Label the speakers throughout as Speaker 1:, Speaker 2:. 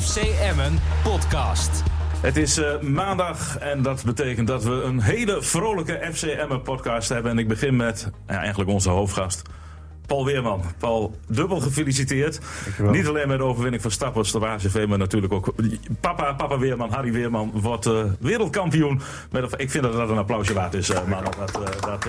Speaker 1: FC Emmen podcast.
Speaker 2: Het is eh, maandag en dat betekent dat we een hele vrolijke FC Emmen podcast hebben. En ik begin met ja, eigenlijk onze hoofdgast, Paul Weerman. Paul, dubbel gefeliciteerd. Niet alleen met de overwinning van Stappers op ACV, maar natuurlijk ook papa, papa Weerman, Harry Weerman, wordt eh, wereldkampioen. Met, of- ik vind dat dat een applausje waard is, eh man. Dat, eh, dat, eh, dat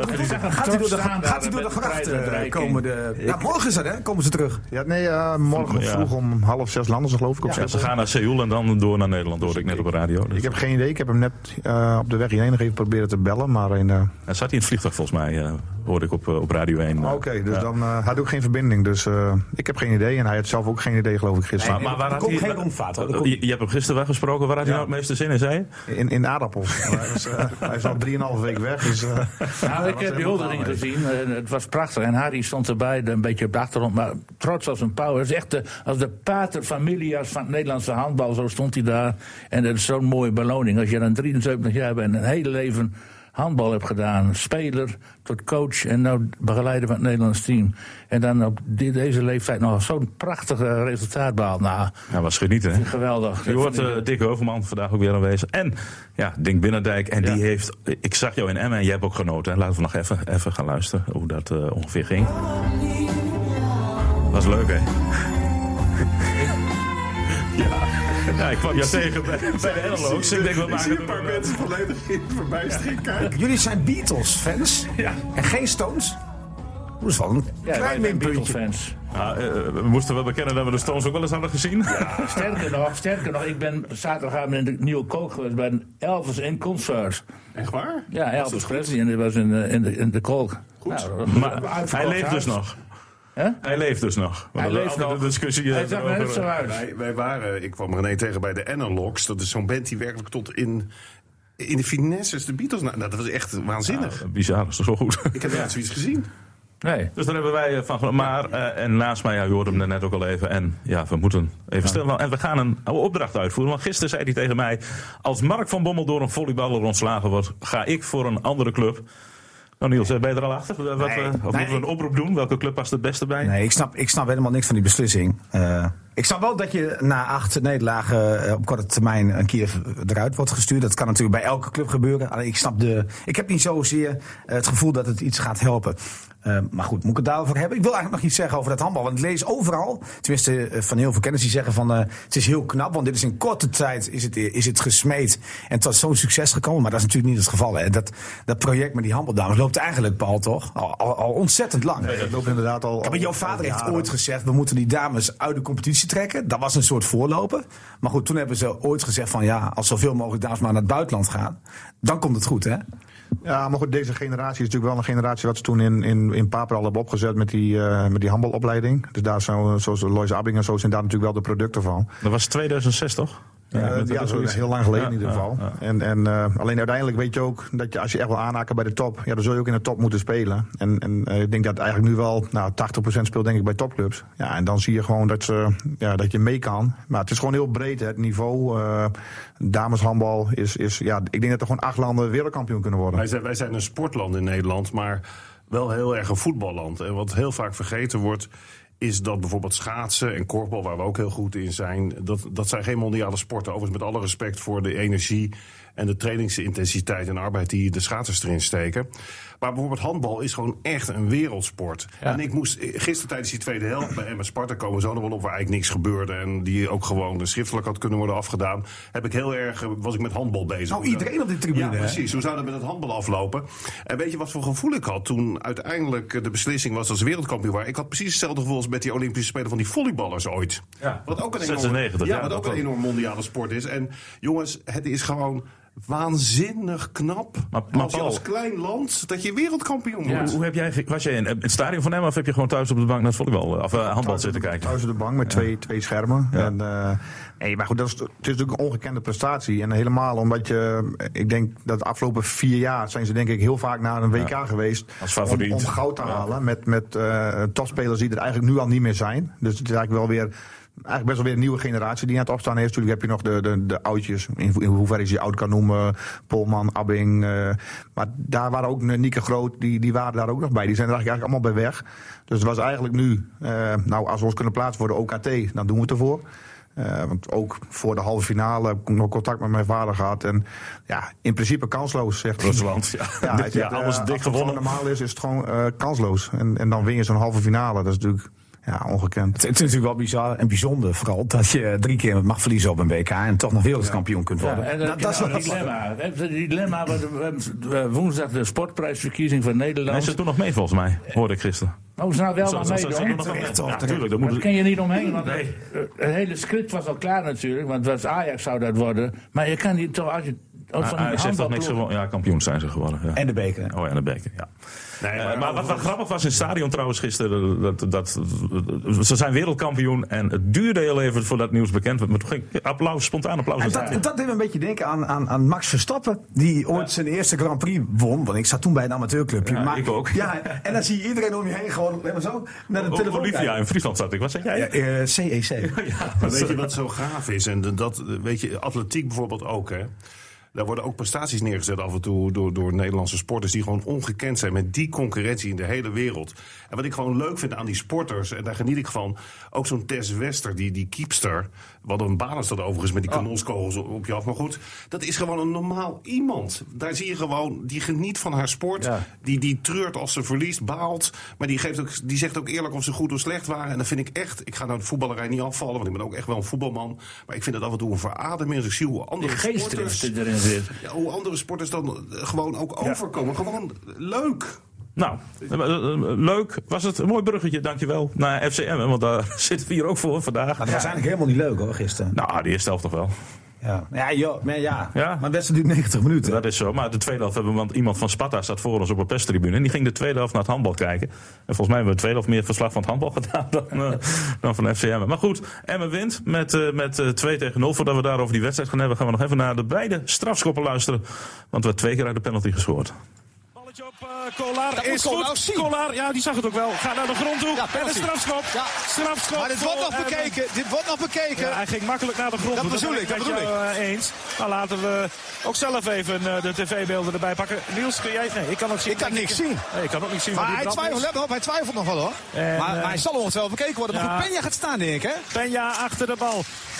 Speaker 3: moet
Speaker 2: jullie-
Speaker 3: zeggen,
Speaker 4: Gaat hij door de,
Speaker 3: Staan
Speaker 4: gaat hij door
Speaker 2: daar
Speaker 4: de
Speaker 2: met
Speaker 4: grachten
Speaker 2: prijsuitreiking.
Speaker 4: komen de... Ja, morgen is dat, hè? Komen ze terug.
Speaker 3: Ja, nee, ja, morgen
Speaker 2: Ja.
Speaker 3: vroeg om half zes landen ze geloof ik op
Speaker 2: Ja, ze
Speaker 3: Schiphol.
Speaker 2: gaan naar Seoul en dan door naar Nederland, hoorde ik net op de radio. Dus-
Speaker 3: Ik heb geen idee. Ik heb hem net eh, op de weg hierheen nog even proberen te bellen. Maar in, eh,
Speaker 2: Hij zat in het vliegtuig volgens mij, eh, hoorde ik op, eh, op Radio 1.
Speaker 4: Oh,
Speaker 3: oké, dus dan eh had ook geen verbinding. Dus eh, ik heb geen idee. En hij had zelf ook geen idee, geloof ik,
Speaker 2: Maar,
Speaker 3: gisteren.
Speaker 2: maar waar
Speaker 4: Er
Speaker 2: had
Speaker 4: komt
Speaker 2: hij-
Speaker 4: geen rondvaart, hoor. Er komt-
Speaker 2: Je, je hebt hem gisteren wel gesproken. Waar had hij nou het meeste zin in, zei je?
Speaker 3: In, in aardappels. Maar hij, is, eh, hij is al drieënhalve week weg. Dus, eh,
Speaker 5: Nou, ik
Speaker 3: was
Speaker 5: heb die
Speaker 3: helemaal
Speaker 5: huldiging
Speaker 3: klaar mee.
Speaker 5: gezien. en Het was prachtig. En Harry stond erbij, een beetje op de achtergrond. Maar trots als een pauw. Het is echt de, als de pater familias van het Nederlandse handbal. Zo stond hij daar. En dat is zo'n mooie beloning. Als je dan 73 jaar bent en een hele leven handbal hebt gedaan. Speler tot coach en nou begeleider van het Nederlands team. En dan op di- deze leeftijd nog zo'n prachtig eh, resultaat behaald. Nou,
Speaker 2: Ja, was genieten, hè?
Speaker 5: geweldig.
Speaker 2: Je
Speaker 5: Dat
Speaker 2: hoort
Speaker 5: vind ik-
Speaker 2: eh Dick Heuvelman vandaag ook weer aanwezig. En ja, Dink Binnendijk. En die heeft... Ik zag jou in Emmen en jij hebt ook genoten. Hè? Laten we nog even, even gaan luisteren hoe dat eh, ongeveer ging. Was leuk, hè? ja. ja, ik kwam jou tegen bij, bij de Ello's. Ik denk, we nou? maken er nog wel.
Speaker 4: volledig in verbijstering kijken. Jullie zijn Beatles-fans en geen Stones. Dat is wel een
Speaker 5: ja, wij
Speaker 4: klein
Speaker 5: zijn
Speaker 4: minpuntje.
Speaker 5: Beatle-fans.
Speaker 2: Nou, eh, eh, we moesten wel bekennen dat we de Stones ook wel eens hadden gezien.
Speaker 5: Sterker nog, sterker nog, ik ben zaterdagavond in de Nieuwe Kook geweest bij een Elvis in concert.
Speaker 4: Echt waar?
Speaker 5: Ja, Elvis Presley, en dat was in de, in de, in de Kook. Nou,
Speaker 2: Maar hij
Speaker 5: uitverkocht
Speaker 2: leeft dus
Speaker 5: huis.
Speaker 2: nog.
Speaker 5: Hè?
Speaker 2: Hij leeft dus nog.
Speaker 5: Hij leeft nog.
Speaker 2: De discussie
Speaker 5: Hij
Speaker 2: eh,
Speaker 5: zag
Speaker 2: over-
Speaker 5: er net zo uit.
Speaker 6: Wij, wij waren, ik kwam René tegen bij de Analogs. Dat is zo'n band die werkelijk tot in, in de finesses de Beatles... na- Nou, dat was echt waanzinnig.
Speaker 2: Ja, bizar, is toch zo goed.
Speaker 6: Ik heb net zoiets gezien.
Speaker 5: Nee.
Speaker 2: Dus daar hebben wij eh, van gelo- Maar, eh, en naast mij, ja, u hoorde hem daarnet ook al even. En ja, we moeten even stil. En we gaan een opdracht uitvoeren. Want gisteren zei hij tegen mij... Als Mark van Bommel door een volleyballer ontslagen wordt... ga ik voor een andere club. Nou Niels, eh, ben je er al achter? Wat, eh,
Speaker 4: Nee,
Speaker 2: of
Speaker 4: nee.
Speaker 2: moeten we een oproep doen? Welke club past het beste bij?
Speaker 4: Nee, ik snap, ik snap helemaal niks van die beslissing. Eh, ik snap wel dat je na acht nederlagen eh, op korte termijn een keer eruit wordt gestuurd. Dat kan natuurlijk bij elke club gebeuren. Alleen ik snap de. Ik heb niet zozeer eh, het gevoel dat het iets gaat helpen. Eh, maar goed, moet ik het daarover hebben? Ik wil eigenlijk nog iets zeggen over dat handbal. Want ik lees overal, tenminste eh, van heel veel kennis, die zeggen van eh, het is heel knap. Want dit is in korte tijd is het, is het gesmeed. En tot zo'n succes gekomen. Maar dat is natuurlijk niet het geval. Hè. Dat, dat project met die handbaldames loopt eigenlijk, Paul, toch? Al, al, al ontzettend lang.
Speaker 3: dat loopt inderdaad al...
Speaker 4: Ja, maar jouw
Speaker 3: al-
Speaker 4: vader
Speaker 3: al
Speaker 4: heeft
Speaker 3: Oh, jaren.
Speaker 4: ooit gezegd, we moeten die dames uit de competitie trekken. Dat was een soort voorloper. Maar goed, toen hebben ze ooit gezegd van ja, als zoveel mogelijk dames maar naar het buitenland gaan, dan komt het goed hè.
Speaker 3: Ja, maar goed, deze generatie is natuurlijk wel een generatie wat ze toen in, in, in Papel al hebben opgezet met die, eh, met die handbalopleiding. Dus daar zijn, zoals Lois Abbing en zo, zijn daar natuurlijk wel de producten van.
Speaker 2: Dat was 2006, toch?
Speaker 3: Ja,
Speaker 2: ik weet
Speaker 3: Eh, ja
Speaker 2: dat
Speaker 3: zo
Speaker 2: ook niet.
Speaker 3: heel lang geleden
Speaker 2: Ja,
Speaker 3: in ieder
Speaker 2: ja,
Speaker 3: geval.
Speaker 2: ja.
Speaker 3: En, en eh, alleen uiteindelijk weet je ook dat je als je echt wil aanhaken bij de top, ja, dan zul je ook in de top moeten spelen. En, en eh, ik denk dat eigenlijk nu wel nou, 80% speelt denk ik bij topclubs. Ja, en dan zie je gewoon dat, ze, ja, dat je mee kan. Maar het is gewoon heel breed hè, het niveau. eh, dameshandbal is, is, ja, ik denk dat er gewoon acht landen wereldkampioen kunnen worden.
Speaker 6: Wij zijn, wij zijn een sportland in Nederland, maar wel heel erg een voetballand. En wat heel vaak vergeten wordt, is dat bijvoorbeeld schaatsen en korfbal, waar we ook heel goed in zijn, dat, dat zijn geen mondiale sporten. Overigens met alle respect voor de energie en de trainingsintensiteit en arbeid die de schaatsers erin steken. Maar bijvoorbeeld handbal is gewoon echt een wereldsport. En ik moest eh, gisteren tijdens die tweede helft bij Emma Sparta komen we zo nog wel op waar eigenlijk niks gebeurde en die ook gewoon schriftelijk had kunnen worden afgedaan. Heb ik heel erg, eh, was ik met handbal bezig.
Speaker 4: Nou, iedereen op die tribune,
Speaker 6: Ja,
Speaker 4: hè?
Speaker 6: precies. Hoe zou dat met het handbal aflopen? En weet je wat voor gevoel ik had toen uiteindelijk eh, de beslissing was als wereldkampioen waren? Ik had precies hetzelfde gevoel als met die Olympische Spelen van die volleyballers ooit.
Speaker 2: Ja.
Speaker 6: Wat ook een
Speaker 2: 96,
Speaker 6: enorme, ja,
Speaker 2: ja,
Speaker 6: wat
Speaker 2: dat
Speaker 6: ook een
Speaker 2: ook.
Speaker 6: enorm mondiale sport is. En jongens, het is gewoon waanzinnig knap.
Speaker 2: Maar- maar
Speaker 6: als je
Speaker 2: Paul-
Speaker 6: als klein land dat je wereldkampioen
Speaker 2: Hoe,
Speaker 6: wordt.
Speaker 2: hoe heb jij, ge- was jij in het stadion van Emmen of heb je gewoon thuis op de bank naar het volleybal, of eh, handbal zitten kijken?
Speaker 3: Thuis op de bank met twee, twee schermen. En, eh, nee, maar goed, dat is, het is natuurlijk een ongekende prestatie. En helemaal omdat je, eh, ik denk dat de afgelopen vier jaar zijn ze denk ik heel vaak naar een WK geweest.
Speaker 2: Als favoriet.
Speaker 3: Om, om goud te halen met, met eh, topspelers die er eigenlijk nu al niet meer zijn. Dus het is eigenlijk wel weer... Eigenlijk best wel weer een nieuwe generatie die aan het opstaan is. Natuurlijk heb je nog de, de, de oudjes, in, ho- in hoeverre je ze oud kan noemen. Polman, Abbing. eh, maar daar waren ook eh, Nieke Groot, die, die waren daar ook nog bij. Die zijn er eigenlijk eigenlijk allemaal bij weg. Dus het was eigenlijk nu, eh, nou als we ons kunnen plaatsen voor de OKT, dan doen we het ervoor.
Speaker 4: Eh, want ook voor de halve finale heb ik nog contact met mijn vader gehad. En ja, in principe kansloos, zegt hij.
Speaker 2: Rusland, ja.
Speaker 4: Ja,
Speaker 2: Ja,
Speaker 4: hij zegt, eh,
Speaker 2: alles
Speaker 4: als
Speaker 2: dik
Speaker 4: het gewoon
Speaker 2: gewonnen.
Speaker 4: normaal is, is het gewoon eh, kansloos. En, en dan win je zo'n halve finale. Dat is natuurlijk ja, ongekend.
Speaker 3: Het is natuurlijk wel bizar en bijzonder vooral dat je drie keer mag verliezen op een WK en toch nog wereldkampioen kunt
Speaker 5: Ja,
Speaker 3: worden.
Speaker 5: en dat, dat is
Speaker 3: wel
Speaker 5: een dilemma. Het dilemma wat eh, woensdag de sportprijsverkiezing van
Speaker 2: Hij
Speaker 5: Nederland.
Speaker 2: zit toen nog mee volgens mij, hoorde ik gisteren.
Speaker 5: Oh, ze nou wel
Speaker 2: Zo-
Speaker 5: maar
Speaker 2: zo- zo- zo-
Speaker 5: meedoen.
Speaker 2: nog wel mee.
Speaker 3: Terecht, toch?
Speaker 2: Ja, tuurlijk, dat
Speaker 5: Maar
Speaker 2: moet
Speaker 5: Daar kun je niet omheen, want eh, het hele script was al klaar natuurlijk. Want het was Ajax zou dat worden. Maar je kan niet toch, als je... Als van
Speaker 2: Hij
Speaker 5: een
Speaker 2: zegt dat niks
Speaker 5: handbalploeg-
Speaker 2: gewonnen. Ja, kampioen zijn ze geworden. Ja.
Speaker 3: En de beker.
Speaker 2: Oh ja, de beker, ja.
Speaker 6: Nee,
Speaker 2: Eh, maar wat, wat grappig was in het stadion trouwens gisteren, dat, dat, ze zijn wereldkampioen en het duurde heel even voordat het nieuws bekend werd. Maar toen ging applaus, spontaan applaus.
Speaker 3: En dat, dat deed me een beetje denken aan, aan, aan Max Verstappen, die ooit zijn eerste Grand Prix won. Want ik zat toen bij een amateurclubje.
Speaker 2: Ja, ik ook.
Speaker 3: Ja, en dan zie je iedereen om je heen gewoon helemaal zo naar de
Speaker 2: Ook
Speaker 3: telefoon
Speaker 2: Olivia
Speaker 3: kijken.
Speaker 2: in Friesland zat ik, wat zeg jij?
Speaker 3: Ja, eh, CEC.
Speaker 6: Maar weet je wat zo gaaf is? En dat, weet je, atletiek bijvoorbeeld ook, hè? Daar worden ook prestaties neergezet af en toe door, door Nederlandse sporters die gewoon ongekend zijn met die concurrentie in de hele wereld. En wat ik gewoon leuk vind aan die sporters, en daar geniet ik van, ook zo'n Tess Wester, die, die keepster, wat een baan is dat overigens met die kanonskogels op- op je af. Maar goed, dat is gewoon een normaal iemand. Daar zie je gewoon, die geniet van haar sport,
Speaker 5: Ja.
Speaker 6: die, die treurt als ze verliest, baalt. Maar die, geeft ook, die zegt ook eerlijk of ze goed of slecht waren. En dat vind ik echt. Ik ga nou de voetballerij niet afvallen, want ik ben ook echt wel een voetbalman. Maar ik vind het af en toe een verademing. Als ik zie hoe andere
Speaker 5: Geestdrift
Speaker 6: sporters.
Speaker 5: die erin zit.
Speaker 6: Ja, hoe andere sporters dan eh, gewoon ook overkomen. Gewoon leuk.
Speaker 2: Nou, eh, eh, leuk. Was het een mooi bruggetje, dankjewel, naar FCM. Want daar zitten we hier ook voor vandaag.
Speaker 3: Maar dat was eigenlijk helemaal niet leuk hoor, gisteren.
Speaker 2: Nou, de eerste helft toch wel.
Speaker 3: Ja, ja, joh, maar ja.
Speaker 2: Ja?
Speaker 3: Maar best duurt 90 minuten.
Speaker 2: Dat is zo. Maar de tweede helft hebben we, want iemand van Sparta staat voor ons op een perstribune. En die ging de tweede helft naar het handbal kijken. En volgens mij hebben we de tweede helft meer verslag van het handbal gedaan dan, eh, dan van FCM. Maar goed, Emmen wint met, eh, met eh, 2 tegen 0. Voordat we daarover die wedstrijd gaan hebben, gaan we nog even naar de beide strafschoppen luisteren. Want we hebben twee keer uit de penalty gescoord.
Speaker 7: Balletje op eh Kolar.
Speaker 8: Dat
Speaker 7: is
Speaker 8: moet Kolar
Speaker 7: goed.
Speaker 8: zien.
Speaker 7: Kolar, ja, die zag het ook wel. Gaat naar de grond toe.
Speaker 8: Ja, penalty.
Speaker 7: en een strafschop.
Speaker 8: Ja.
Speaker 7: Strafschop.
Speaker 8: Maar dit wordt
Speaker 7: voor
Speaker 8: nog
Speaker 7: Emmen.
Speaker 8: bekeken. Dit wordt nog bekeken.
Speaker 7: Eh, Ja, hij ging makkelijk naar de grond.
Speaker 8: Dat
Speaker 7: toe.
Speaker 8: bedoel
Speaker 7: ben
Speaker 8: ik, dat
Speaker 7: met
Speaker 8: bedoel
Speaker 7: jou, eh, eens. Maar laten we ook zelf even eh, de tv-beelden erbij pakken. Niels, kun jij... Nee, ik kan het zien.
Speaker 8: Ik kan niks zien.
Speaker 7: Nee, ik kan ook niet zien.
Speaker 8: Maar
Speaker 7: wat
Speaker 8: hij
Speaker 7: die brand
Speaker 8: twijfelt,
Speaker 7: is.
Speaker 8: let maar op, hij twijfelt nog wel hoor.
Speaker 7: En,
Speaker 8: maar,
Speaker 7: eh,
Speaker 8: maar hij zal ongetwijfeld bekeken worden. Maar
Speaker 7: ja.
Speaker 8: goed, Penja gaat staan denk ik hè.
Speaker 7: Benja achter de bal.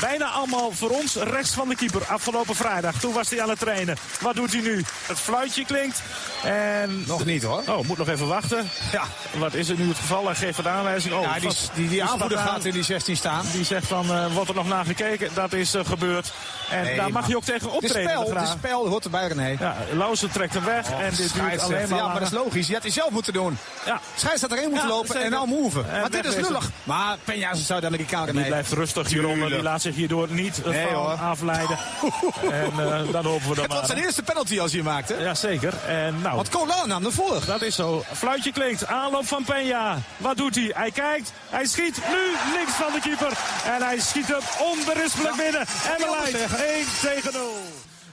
Speaker 7: Bijna allemaal voor ons rechts van de keeper. Afgelopen vrijdag. Toen was hij aan het trainen. Wat doet hij nu? Het fluitje klinkt. En...
Speaker 8: Nog niet hoor.
Speaker 7: Oh, moet nog even wachten.
Speaker 8: Ja,
Speaker 7: Wat is er nu het geval? Hij geeft een aanwijzing. Oh,
Speaker 8: ja die,
Speaker 7: vast-
Speaker 8: die, die aanvoerder
Speaker 7: staat aan.
Speaker 8: gaat in die 16 staan.
Speaker 7: Die zegt van, eh, wordt er nog naar gekeken? Dat is eh, gebeurd. En
Speaker 8: Nee,
Speaker 7: daar mag
Speaker 8: maar-
Speaker 7: je ook tegen
Speaker 8: De
Speaker 7: optreden.
Speaker 8: spel,
Speaker 7: de
Speaker 8: de
Speaker 7: vraag.
Speaker 8: spel hoort erbij René.
Speaker 7: Ja, Lauzen trekt hem weg.
Speaker 8: Oh,
Speaker 7: en dit duurt
Speaker 8: scheidsrechter.
Speaker 7: alleen maar
Speaker 8: Ja, maar dat
Speaker 7: langer.
Speaker 8: is logisch. Je had het zelf moeten doen.
Speaker 7: Ja.
Speaker 8: Scheids had erin moeten
Speaker 7: Ja,
Speaker 8: lopen
Speaker 7: zeker.
Speaker 8: en nou move.
Speaker 7: En
Speaker 8: Maar dit is
Speaker 7: wegwezen.
Speaker 8: lullig. Maar Penja zou daar lekker kamer
Speaker 7: Die
Speaker 8: mee.
Speaker 7: blijft rustig hieronder. Die
Speaker 8: Tuurlijk.
Speaker 7: laat zich hierdoor niet eh,
Speaker 8: Nee,
Speaker 7: van
Speaker 8: hoor.
Speaker 7: afleiden. en eh dan hopen we dat
Speaker 8: Het was zijn
Speaker 7: maar.
Speaker 8: eerste penalty als hij hem maakte.
Speaker 7: Jazeker. En nou,
Speaker 8: Want Cola nam de voor.
Speaker 7: dat is zo. Fluitje klinkt. Aanloop van Peña. Wat doet hij? Hij kijkt. Hij schiet. Nu links van de keeper. En hij schiet hem onberispelijk
Speaker 8: Ja,
Speaker 7: binnen. En de
Speaker 8: kan je anders
Speaker 7: lijn 1 tegen 0.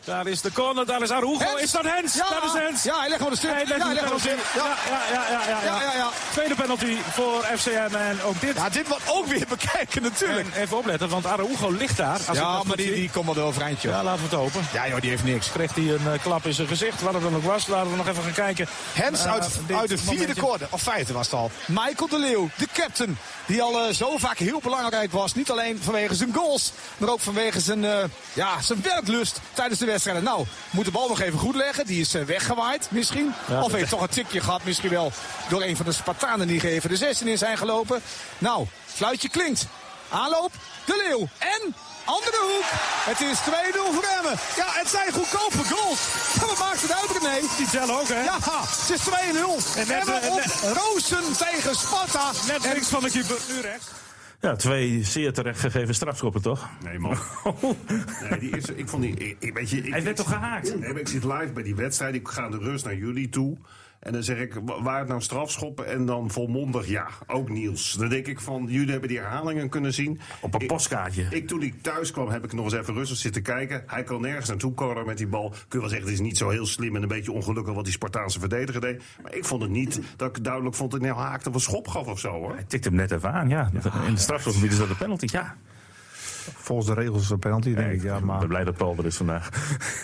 Speaker 7: Daar is de corner. Daar is Arugo.
Speaker 8: Hens.
Speaker 7: Oh, Is dat Hens?
Speaker 8: Ja.
Speaker 7: Dat is Hens.
Speaker 8: Ja, hij legt gewoon de stuk.
Speaker 7: Hij legt
Speaker 8: ja,
Speaker 7: een
Speaker 8: hij legt gewoon
Speaker 7: penalty.
Speaker 8: de stuk.
Speaker 7: Ja, ja, ja, ja, ja,
Speaker 8: Ja, ja, ja.
Speaker 7: Tweede penalty voor FCM. En ook dit.
Speaker 8: Ja, dit wordt ook weer bekijken natuurlijk.
Speaker 7: En even opletten, want Araujo ligt daar. Als ik dat
Speaker 8: ja,
Speaker 7: goed
Speaker 8: maar die,
Speaker 7: zie.
Speaker 8: die komt wel door overeind, joh.
Speaker 7: Ja, laten we het hopen.
Speaker 8: Ja joh, die heeft niks.
Speaker 7: Kreeg hij een eh, klap in zijn gezicht, wat het dan ook was. Laten we nog even gaan kijken.
Speaker 8: Hens
Speaker 7: Eh,
Speaker 8: uit,
Speaker 7: dit
Speaker 8: uit de vierde
Speaker 7: momentje.
Speaker 8: korte, of vijfde was het al. Michael de Leeuw, de captain, die al eh, zo vaak heel belangrijk was. Niet alleen vanwege zijn goals, maar ook vanwege zijn, eh, ja, zijn werklust tijdens de wedstrijden. Nou, moet de bal nog even goed leggen. Die is eh, weggewaaid misschien. of heeft toch een tikje gehad, misschien wel door een van de Spartanen die geven de 16 in zijn gelopen. Nou, fluitje klinkt. Aanloop, de Leeuw en... Andere hoek. Het is 2-0 voor Emmen. Ja, het zijn goedkope goals. Maar wat maakt het uit, René?
Speaker 7: Die tellen ook, hè?
Speaker 8: Ja, het is 2-0.
Speaker 7: En
Speaker 8: En
Speaker 7: net,
Speaker 8: hebben
Speaker 7: eh,
Speaker 8: op
Speaker 7: net-
Speaker 8: Roosen tegen Sparta.
Speaker 7: Net links van de keeper, nu rechts.
Speaker 2: Ja, twee zeer terecht gegeven strafschoppen toch?
Speaker 6: Nee, man. Nee, die eerste, ik vond die. ik- Ik, weet je, ik,
Speaker 2: Hij werd toch gehaakt?
Speaker 6: Nee, maar ik zit live bij die wedstrijd. Ik ga de rust naar jullie toe. En dan zeg ik, wa- waar het nou strafschoppen? En dan volmondig ja. Ook Niels. Dan denk ik van, jullie hebben die herhalingen kunnen zien.
Speaker 2: Op een
Speaker 6: Ik-
Speaker 2: postkaartje.
Speaker 6: ik, toen ik thuis kwam, heb ik nog eens even rustig zitten kijken. Hij kan nergens naartoe komen met die bal. Kun je wel zeggen, het is niet zo heel slim en een beetje ongelukkig wat die Spartaanse verdediger deed. Maar ik vond het niet dat ik duidelijk vond dat hij nou haakte of een schop gaf of zo hoor.
Speaker 2: Hij tikt hem net even aan, ja. In het strafschopgebied is dat de penalty, ja.
Speaker 3: volgens de regels een penalty, denk ik. Ja,
Speaker 2: Ik
Speaker 3: maar
Speaker 2: ben blij dat Paul er is vandaag.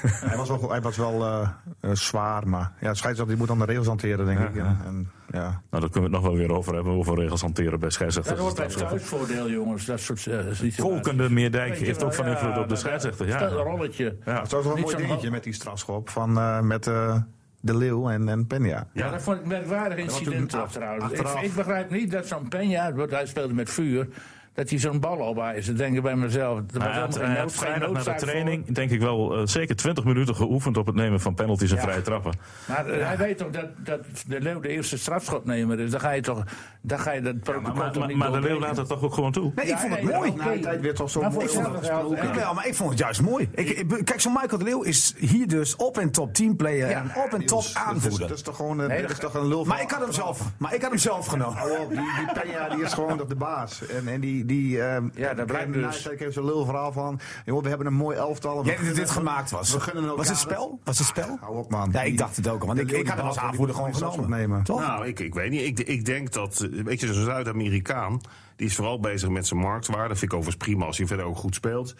Speaker 3: hij was wel, hij was wel eh, eh, zwaar, maar ja, de scheidsrechter die moet dan de regels hanteren, denk ik. En, en, ja.
Speaker 2: Nou, daar kunnen we het nog wel weer over hebben. Hoeveel regels hanteren bij
Speaker 5: Dat
Speaker 2: scheidsrechters.
Speaker 5: hoort bij
Speaker 2: Dat
Speaker 5: het
Speaker 2: is absoluut-
Speaker 5: thuisvoordeel, jongens. Dat soort eh, situaties.
Speaker 2: Kolkende Meerdijk
Speaker 5: Weet je
Speaker 2: heeft
Speaker 5: wel,
Speaker 2: ook van
Speaker 5: ja,
Speaker 2: invloed op de
Speaker 5: dat-
Speaker 2: scheidsrechter.
Speaker 5: dat- Dat
Speaker 2: Ja.
Speaker 5: rolletje.
Speaker 2: Ja.
Speaker 3: Het was wel een
Speaker 5: Niet
Speaker 3: mooi
Speaker 5: zo'n
Speaker 3: dingetje
Speaker 5: hoog-
Speaker 3: met die strafschop van eh, met eh, De Leeuw en, en Penja.
Speaker 5: Ja, dat vond ik een merkwaardig incident
Speaker 2: natuurlijk
Speaker 5: trouwens.
Speaker 2: achteraf-
Speaker 5: Ik, ik begrijp niet dat zo'n Penja, want hij speelde met vuur, dat hij zo'n bal op is. Ik denk bij mezelf, er was
Speaker 2: Hij had,
Speaker 5: helemaal
Speaker 2: Nou hij
Speaker 5: geen
Speaker 2: had
Speaker 5: nood- geen
Speaker 2: vrijdag na de
Speaker 5: noodzaak voor.
Speaker 2: training, denk ik wel, eh, zeker 20 minuten geoefend op het nemen van penalties en vrije trappen.
Speaker 5: Maar eh, hij weet toch dat, dat de Leeuw de eerste strafschotnemer is. Dan ga je toch, dan ga je dat protocol
Speaker 2: Maar, maar,
Speaker 5: toch
Speaker 2: maar,
Speaker 5: niet
Speaker 2: de Leeuw
Speaker 5: doorbreken?
Speaker 2: laat het toch ook gewoon toe?
Speaker 4: Nee,
Speaker 5: Ja,
Speaker 4: ik vond het
Speaker 5: nee,
Speaker 4: mooi. Nou,
Speaker 5: oké.
Speaker 3: Na een tijd weer toch zo'n
Speaker 5: Maar
Speaker 3: mooi
Speaker 5: voor hetzelfde
Speaker 3: ondergesproken.
Speaker 5: geld,
Speaker 4: Ik
Speaker 5: eh,
Speaker 4: wel, maar ik vond het juist mooi. Ik, ik- kijk, zo'n Michael de Leeuw is hier dus op en top teamplayer en op en top
Speaker 3: Niels, dat is-
Speaker 4: aanvoerder.
Speaker 3: Dat is toch gewoon eh,
Speaker 5: Nee,
Speaker 3: dat is
Speaker 5: dat-
Speaker 3: toch een lul van-
Speaker 4: maar, ik had hem zelf, maar ik had hem zelf genomen.
Speaker 3: Hou op, Oh, die, die Peña die is gewoon toch de baas. En, en die, die ehm,
Speaker 5: Ja, dat blijkt
Speaker 3: en na-
Speaker 5: dus.
Speaker 3: Ik heb zo'n lul verhaal van. Jongen, we hebben een mooi elftal. en we
Speaker 4: Jij dat dit
Speaker 3: gunnen-
Speaker 4: gemaakt was.
Speaker 3: We gunnen elkaar
Speaker 4: Was het
Speaker 3: het.
Speaker 4: spel? Was het spel?
Speaker 3: Hou op, man.
Speaker 4: Ja, ik dacht het ook al. Want
Speaker 3: De
Speaker 4: ik,
Speaker 3: Leeuw
Speaker 4: ik had hem
Speaker 3: die
Speaker 4: als
Speaker 3: baas, die
Speaker 4: aanvoerder gewoon
Speaker 3: moet zelfs
Speaker 4: genomen.
Speaker 3: opnemen.
Speaker 4: Toch?
Speaker 6: Nou, ik, ik weet niet. Ik, ik denk dat. eh, Weet je, zo'n Zuid-Amerikaan. die is vooral bezig met zijn marktwaarde. Vind ik overigens prima als hij verder ook goed speelt.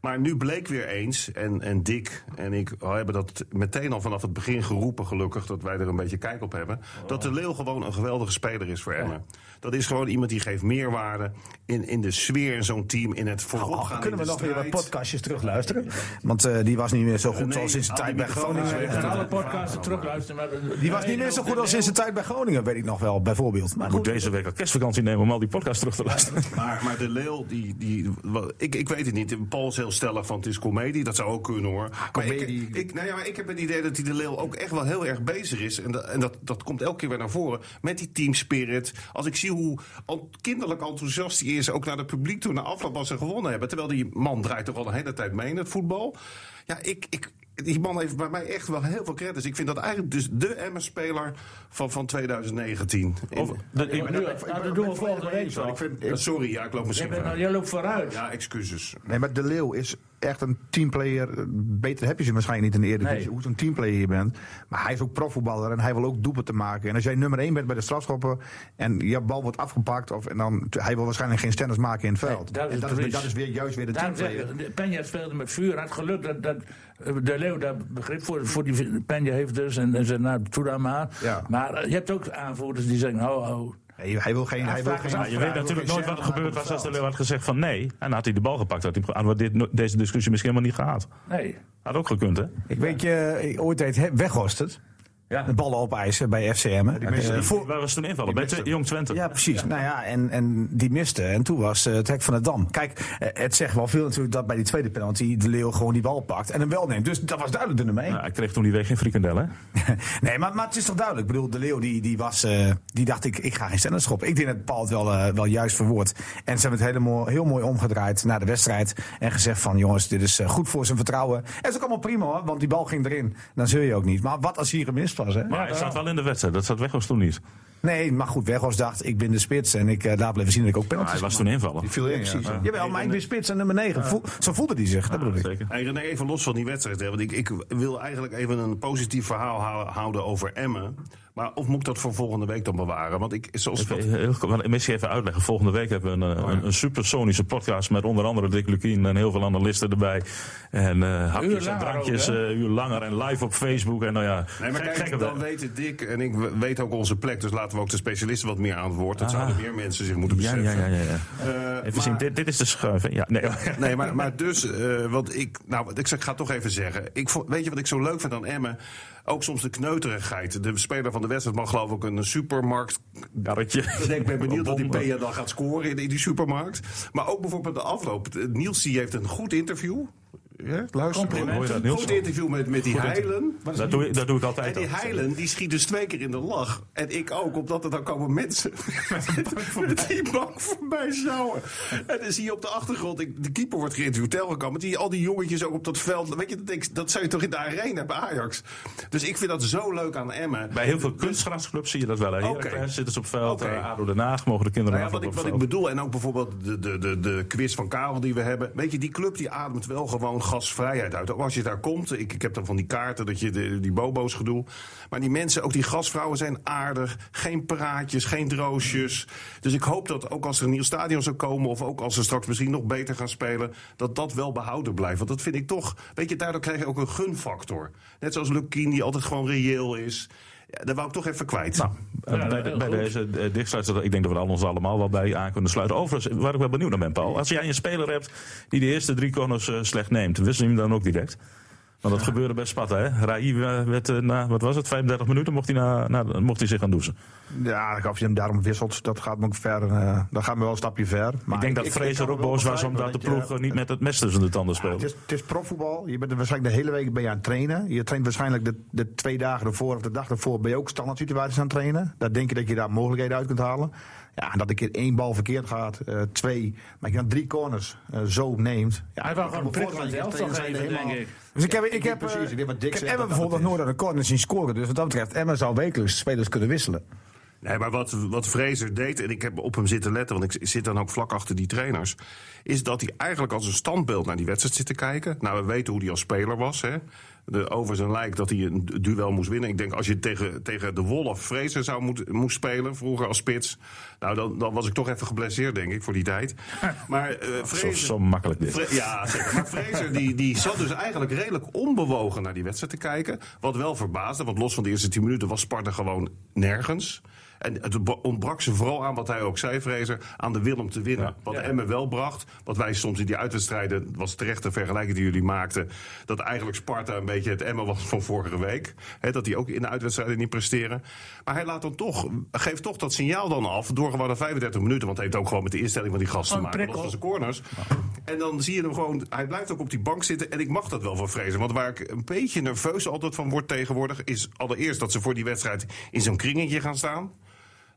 Speaker 6: Maar nu bleek weer eens. En, en Dick en ik oh, hebben dat meteen al vanaf het begin geroepen, gelukkig. dat wij er een beetje kijk op hebben. Dat de Leeuw gewoon een geweldige speler is voor Emmen. Dat is gewoon iemand die geeft meerwaarde. in, in de sfeer in zo'n team. in het vooropgaan.
Speaker 4: Oh,
Speaker 6: in
Speaker 4: kunnen we
Speaker 6: de
Speaker 4: nog weer wat
Speaker 6: strijd.
Speaker 4: podcastjes terugluisteren? Want eh, die was niet meer zo goed
Speaker 6: Nee,
Speaker 4: als in zijn
Speaker 6: al die
Speaker 4: tijd bij
Speaker 6: microfoons
Speaker 4: Groningen.
Speaker 6: weg.
Speaker 5: En alle podcasten terugluisteren. maar-
Speaker 4: Die was niet meer zo goed als in zijn tijd bij Groningen, weet ik nog wel, bijvoorbeeld. Maar
Speaker 2: Moet
Speaker 4: goed,
Speaker 2: deze week al kerstvakantie nemen om al die podcasts terug te luisteren.
Speaker 6: Maar, maar de Leeuw, die, die, wa- ik, ik weet het niet. Paul is heel stellig van het is comedie. Dat zou ook kunnen hoor. Maar ik,
Speaker 3: comedie.
Speaker 6: ik, nou ja, maar ik heb het idee dat die de Leeuw ook echt wel heel erg bezig is. En, dat, en dat, dat komt elke keer weer naar voren. Met die teamspirit. Als ik zie hoe al- kinderlijk enthousiast hij is. Ook naar het publiek toe, naar afloop als ze gewonnen hebben. Terwijl die man draait toch al een hele tijd mee in het voetbal. Ja, ik... ik die man heeft bij mij echt wel heel veel credits. Ik vind dat eigenlijk dus de MS-speler van, van 2019. In-
Speaker 2: Of- de- ik-
Speaker 5: Ja, maar nu- nou, Dat doen we volgende week wel.
Speaker 6: ik vind, ik- sorry, ja, ik loop
Speaker 5: Jij
Speaker 6: misschien
Speaker 5: bent nou-
Speaker 6: vooruit.
Speaker 5: Jij loopt vooruit.
Speaker 6: Ja, excuses.
Speaker 3: Nee, maar De Leeuw is echt een teamplayer. Beter heb je ze waarschijnlijk niet in de Eredivisie,
Speaker 5: Nee.
Speaker 3: hoe zo'n teamplayer je bent. Maar hij is ook profvoetballer en hij wil ook doelpunten maken. En als jij nummer 1 bent bij de strafschoppen en je bal wordt afgepakt... Of, en dan, hij wil waarschijnlijk geen stennis maken in het veld.
Speaker 5: Nee, dat is
Speaker 3: en dat,
Speaker 5: het
Speaker 3: is,
Speaker 5: precies.
Speaker 3: dat is weer, juist weer de
Speaker 5: Daarom zeg
Speaker 3: teamplayer.
Speaker 5: ik, Penja speelde met vuur. Hij had geluk dat, dat eh, De Leeuw daar begrip voor, voor die Penja heeft dus. En, en zei, nou, doe dat maar.
Speaker 3: Ja.
Speaker 5: Maar eh, je hebt ook aanvoerders die zeggen, oh, ho, ho.
Speaker 3: Nee, hij wil geen... Hij wil
Speaker 5: Afspraken
Speaker 3: geen
Speaker 5: zijn
Speaker 2: Maar je weet natuurlijk nooit wat er gebeurd was als de Leeuw had gezegd van nee. En dan had hij de bal gepakt. Had hij, hadden we dit, deze discussie misschien helemaal niet gehad.
Speaker 5: Nee.
Speaker 2: Had ook gekund, hè?
Speaker 4: ik weet je, ik- ooit deed He- Weghorst
Speaker 5: Ja.
Speaker 4: Ja. De ballen opeisen bij FCM. hè. Eh, voor-
Speaker 2: Waar was toen invallen? Bij Twe- Jong Twente.
Speaker 4: Ja, precies. Nou ja, en, en die miste. En toen was eh, het hek van de dam. Kijk, eh, het zegt wel veel natuurlijk dat bij die tweede penalty de Leeuw gewoon die bal pakt en hem wel neemt. Dus dat was duidelijk de nummer één.
Speaker 2: Nou, hij kreeg toen die week geen frikandel, hè?
Speaker 4: nee, maar, maar het is toch duidelijk. Ik bedoel, de Leeuw die, die was, eh, die dacht ik, ik ga geen stennis schoppen. Ik denk dat Paul het wel, eh, wel juist verwoord. En ze hebben het helemaal, heel mooi omgedraaid naar de wedstrijd. En gezegd van jongens, dit is eh, goed voor zijn vertrouwen. En het is ook allemaal prima hoor, want die bal ging erin. Dan zul je ook niet. Maar wat als hier gemist was hè?
Speaker 2: Maar hij zat wel in de wedstrijd. Dat zat Weghorst toen niet.
Speaker 4: Nee, maar goed, Weghorst dacht, ik ben de spits. En ik eh, laat blijven zien dat ik ook
Speaker 2: Maar hij was
Speaker 4: penalty's
Speaker 2: toen invallen.
Speaker 3: Viel in, ja. Ja.
Speaker 4: Jawel, maar ik ben spits en nummer 9. zo voelde hij zich, dat bedoel ik.
Speaker 2: Zeker.
Speaker 6: Hey René, even los van die wedstrijd. Hè, want ik, ik wil eigenlijk even een positief verhaal hou- houden over Emmen. Maar of moet ik dat voor volgende week dan bewaren? Want ik, zoals
Speaker 2: Even- Eh, heel kort, want Misschien even uitleggen. Volgende week hebben we een,
Speaker 6: Oh,
Speaker 2: eh, een, een supersonische podcast met onder andere Dick Lukien en heel veel analisten erbij. En eh
Speaker 5: Uur
Speaker 2: hapjes en
Speaker 5: langer
Speaker 2: drankjes,
Speaker 5: ook,
Speaker 2: eh uur langer en live op Facebook. En nou ja,
Speaker 6: Nee, maar
Speaker 2: gek-
Speaker 6: kijk,
Speaker 2: gekke
Speaker 6: dan
Speaker 2: we-
Speaker 6: weten Dick en ik we- weet ook onze plek. Dus laten we ook de specialisten wat meer aan het woord. Dat zouden meer mensen zich moeten
Speaker 2: Ah. Ja,
Speaker 6: beseffen.
Speaker 2: ja, ja, ja. ja.
Speaker 6: Eh,
Speaker 2: Even
Speaker 6: maar-
Speaker 2: zien, dit, dit is de schuif. hè? Ja, nee. oh, ja.
Speaker 6: Nee, maar, maar dus, eh want ik, nou, wat ik, zeg- ik ga het toch even zeggen. Ik, vo- weet je wat ik zo leuk vind aan Emmen? Ook soms de kneuterigheid. De speler van de wedstrijd mag geloof ik ook een supermarkt... Dus Ik
Speaker 2: Karretje.
Speaker 6: denk, ben benieuwd dat die
Speaker 2: Bom,
Speaker 6: Peña dan gaat scoren in, in die supermarkt. Maar ook bijvoorbeeld de afloop. Eh, Niels die heeft een goed interview. Ja, luister.
Speaker 2: Mooi dat,
Speaker 6: Een
Speaker 2: Niels.
Speaker 6: goed interview met, met die heilen.
Speaker 2: Dat doe, ik- dat doe ik
Speaker 6: En
Speaker 2: altijd.
Speaker 6: die
Speaker 2: al.
Speaker 6: heilen die schiet dus twee keer in de lach. En ik ook, omdat er dan komen mensen met die bank voorbij zouden. En dan zie je op de achtergrond, ik, de keeper wordt geïnterviewd, telgekomen. Die, al die jongetjes ook op dat veld. Weet je, dat, denk ik, dat zou je toch in de arena bij Ajax. Dus ik vind dat zo leuk aan Emmen.
Speaker 2: Bij heel veel kunstgrasclubs zie je dat wel. hè.
Speaker 6: Oké.
Speaker 2: Heracles zitten ze op veld.
Speaker 6: Oké.
Speaker 2: eh, ADO Den Haag mogen de kinderen
Speaker 6: Nou ja, wat,
Speaker 2: af
Speaker 6: ik,
Speaker 2: op het
Speaker 6: wat ik
Speaker 2: veld.
Speaker 6: bedoel, en ook bijvoorbeeld de, de, de, de quiz van Karel die we hebben. Weet je, die club die ademt wel gewoon gasvrijheid uit. Ook als je daar komt, ik, ik heb dan van die kaarten, dat je de, die bobo's gedoe. Maar die mensen, ook die gasvrouwen zijn aardig. Geen praatjes, geen droosjes. Dus ik hoop dat ook als er een nieuw stadion zou komen... of ook als ze straks misschien nog beter gaan spelen... dat dat wel behouden blijft. Want dat vind ik toch... Weet je, daardoor krijg je ook een gunfactor. Net zoals Lukien, die altijd gewoon reëel is. Ja, dat wou ik toch even kwijt.
Speaker 2: Nou, eh,
Speaker 5: Ja,
Speaker 2: bij, de-
Speaker 5: heel
Speaker 2: bij
Speaker 5: goed.
Speaker 2: deze eh, dichtsluiter, ik denk dat we er ons allemaal wel bij aan kunnen sluiten. Overigens, waar ik wel benieuwd naar ben, Paul. Als jij een speler hebt die de eerste drie corners eh, slecht neemt, wissel je hem dan ook direct? Want dat gebeurde bij Sparta, hè? Rai eh, werd eh, na, wat was het, 35 minuten mocht hij, na, na, mocht hij zich gaan douchen.
Speaker 3: Ja, of je hem daarom wisselt, dat gaat me, ook ver, eh, dat gaat me wel een stapje ver. Maar
Speaker 2: ik denk dat
Speaker 3: ik kan
Speaker 2: Fraser
Speaker 3: wel
Speaker 2: ook boos was
Speaker 3: begrijpen
Speaker 2: omdat de
Speaker 3: dat je-
Speaker 2: ploeg eh, niet met het mes tussen de tanden
Speaker 3: Ja, dus
Speaker 2: speelde.
Speaker 3: het, is, het is profvoetbal. Je bent er waarschijnlijk de hele week ben je aan het trainen. Je traint waarschijnlijk de, de twee dagen ervoor of de dag ervoor ben je ook standaard situaties aan het trainen. Dan denk je dat je daar mogelijkheden uit kunt halen. Ja, en dat een keer één bal verkeerd gaat, eh, twee, maar je dan drie corners eh, zo neemt. Ja,
Speaker 5: Hij wou gewoon
Speaker 3: ik kan me
Speaker 5: prikkelen
Speaker 3: voorstellen,
Speaker 5: zelf toch
Speaker 3: trainers zijn
Speaker 5: even,
Speaker 3: helemaal-
Speaker 5: denk ik.
Speaker 4: Dus ik heb,
Speaker 3: Ja,
Speaker 4: ik heb,
Speaker 3: precies.
Speaker 4: eh,
Speaker 3: Ik denk wat Dick
Speaker 4: ik heb
Speaker 3: zegt,
Speaker 4: Emma
Speaker 3: dat dat
Speaker 4: bijvoorbeeld
Speaker 3: het
Speaker 4: nooit aan de corners zien scoren. Dus wat dat betreft, Emma zou wekelijks spelers kunnen wisselen.
Speaker 6: Nee, maar wat, wat Fraser deed, en ik heb op hem zitten letten, want ik zit dan ook vlak achter die trainers, is dat hij eigenlijk als een standbeeld naar die wedstrijd zit te kijken. Nou, we weten hoe hij als speler was. Hè? De, over zijn lijk dat hij een duel moest winnen. Ik denk als je tegen, tegen de Wolf Fraser zou moet, moest spelen, vroeger als spits, nou dan, dan was ik toch even geblesseerd, denk ik, voor die tijd. Maar eh
Speaker 2: Zo,
Speaker 6: Fraser-
Speaker 2: zo makkelijk dit.
Speaker 6: Fre- ja, zeker. Maar Fraser die, die zat dus eigenlijk redelijk onbewogen naar die wedstrijd te kijken. Wat wel verbaasde, want los van de eerste 10 minuten was Sparta gewoon nergens. En het be- ontbrak ze vooral aan wat hij ook zei, Fraser, aan de wil om te winnen. Wat Emmen wel bracht, wat wij soms in die uitwedstrijden, het was terecht de vergelijking die jullie maakten, dat eigenlijk Sparta een beetje het Emmen was van vorige week. Hè, dat die ook in de uitwedstrijden niet presteren. Maar hij laat dan toch, geeft toch dat signaal dan af door gewoon na 35 minuten, want hij heeft ook gewoon met de instelling van die gasten te
Speaker 5: Gewoon
Speaker 6: maken. Los van
Speaker 5: prikkel.
Speaker 6: zijn corners. En dan zie je hem gewoon, hij blijft ook op die bank zitten. En ik mag dat wel van vrezen. Want waar ik een beetje nerveus altijd van word tegenwoordig, is allereerst dat ze voor die wedstrijd in zo'n kringetje gaan staan.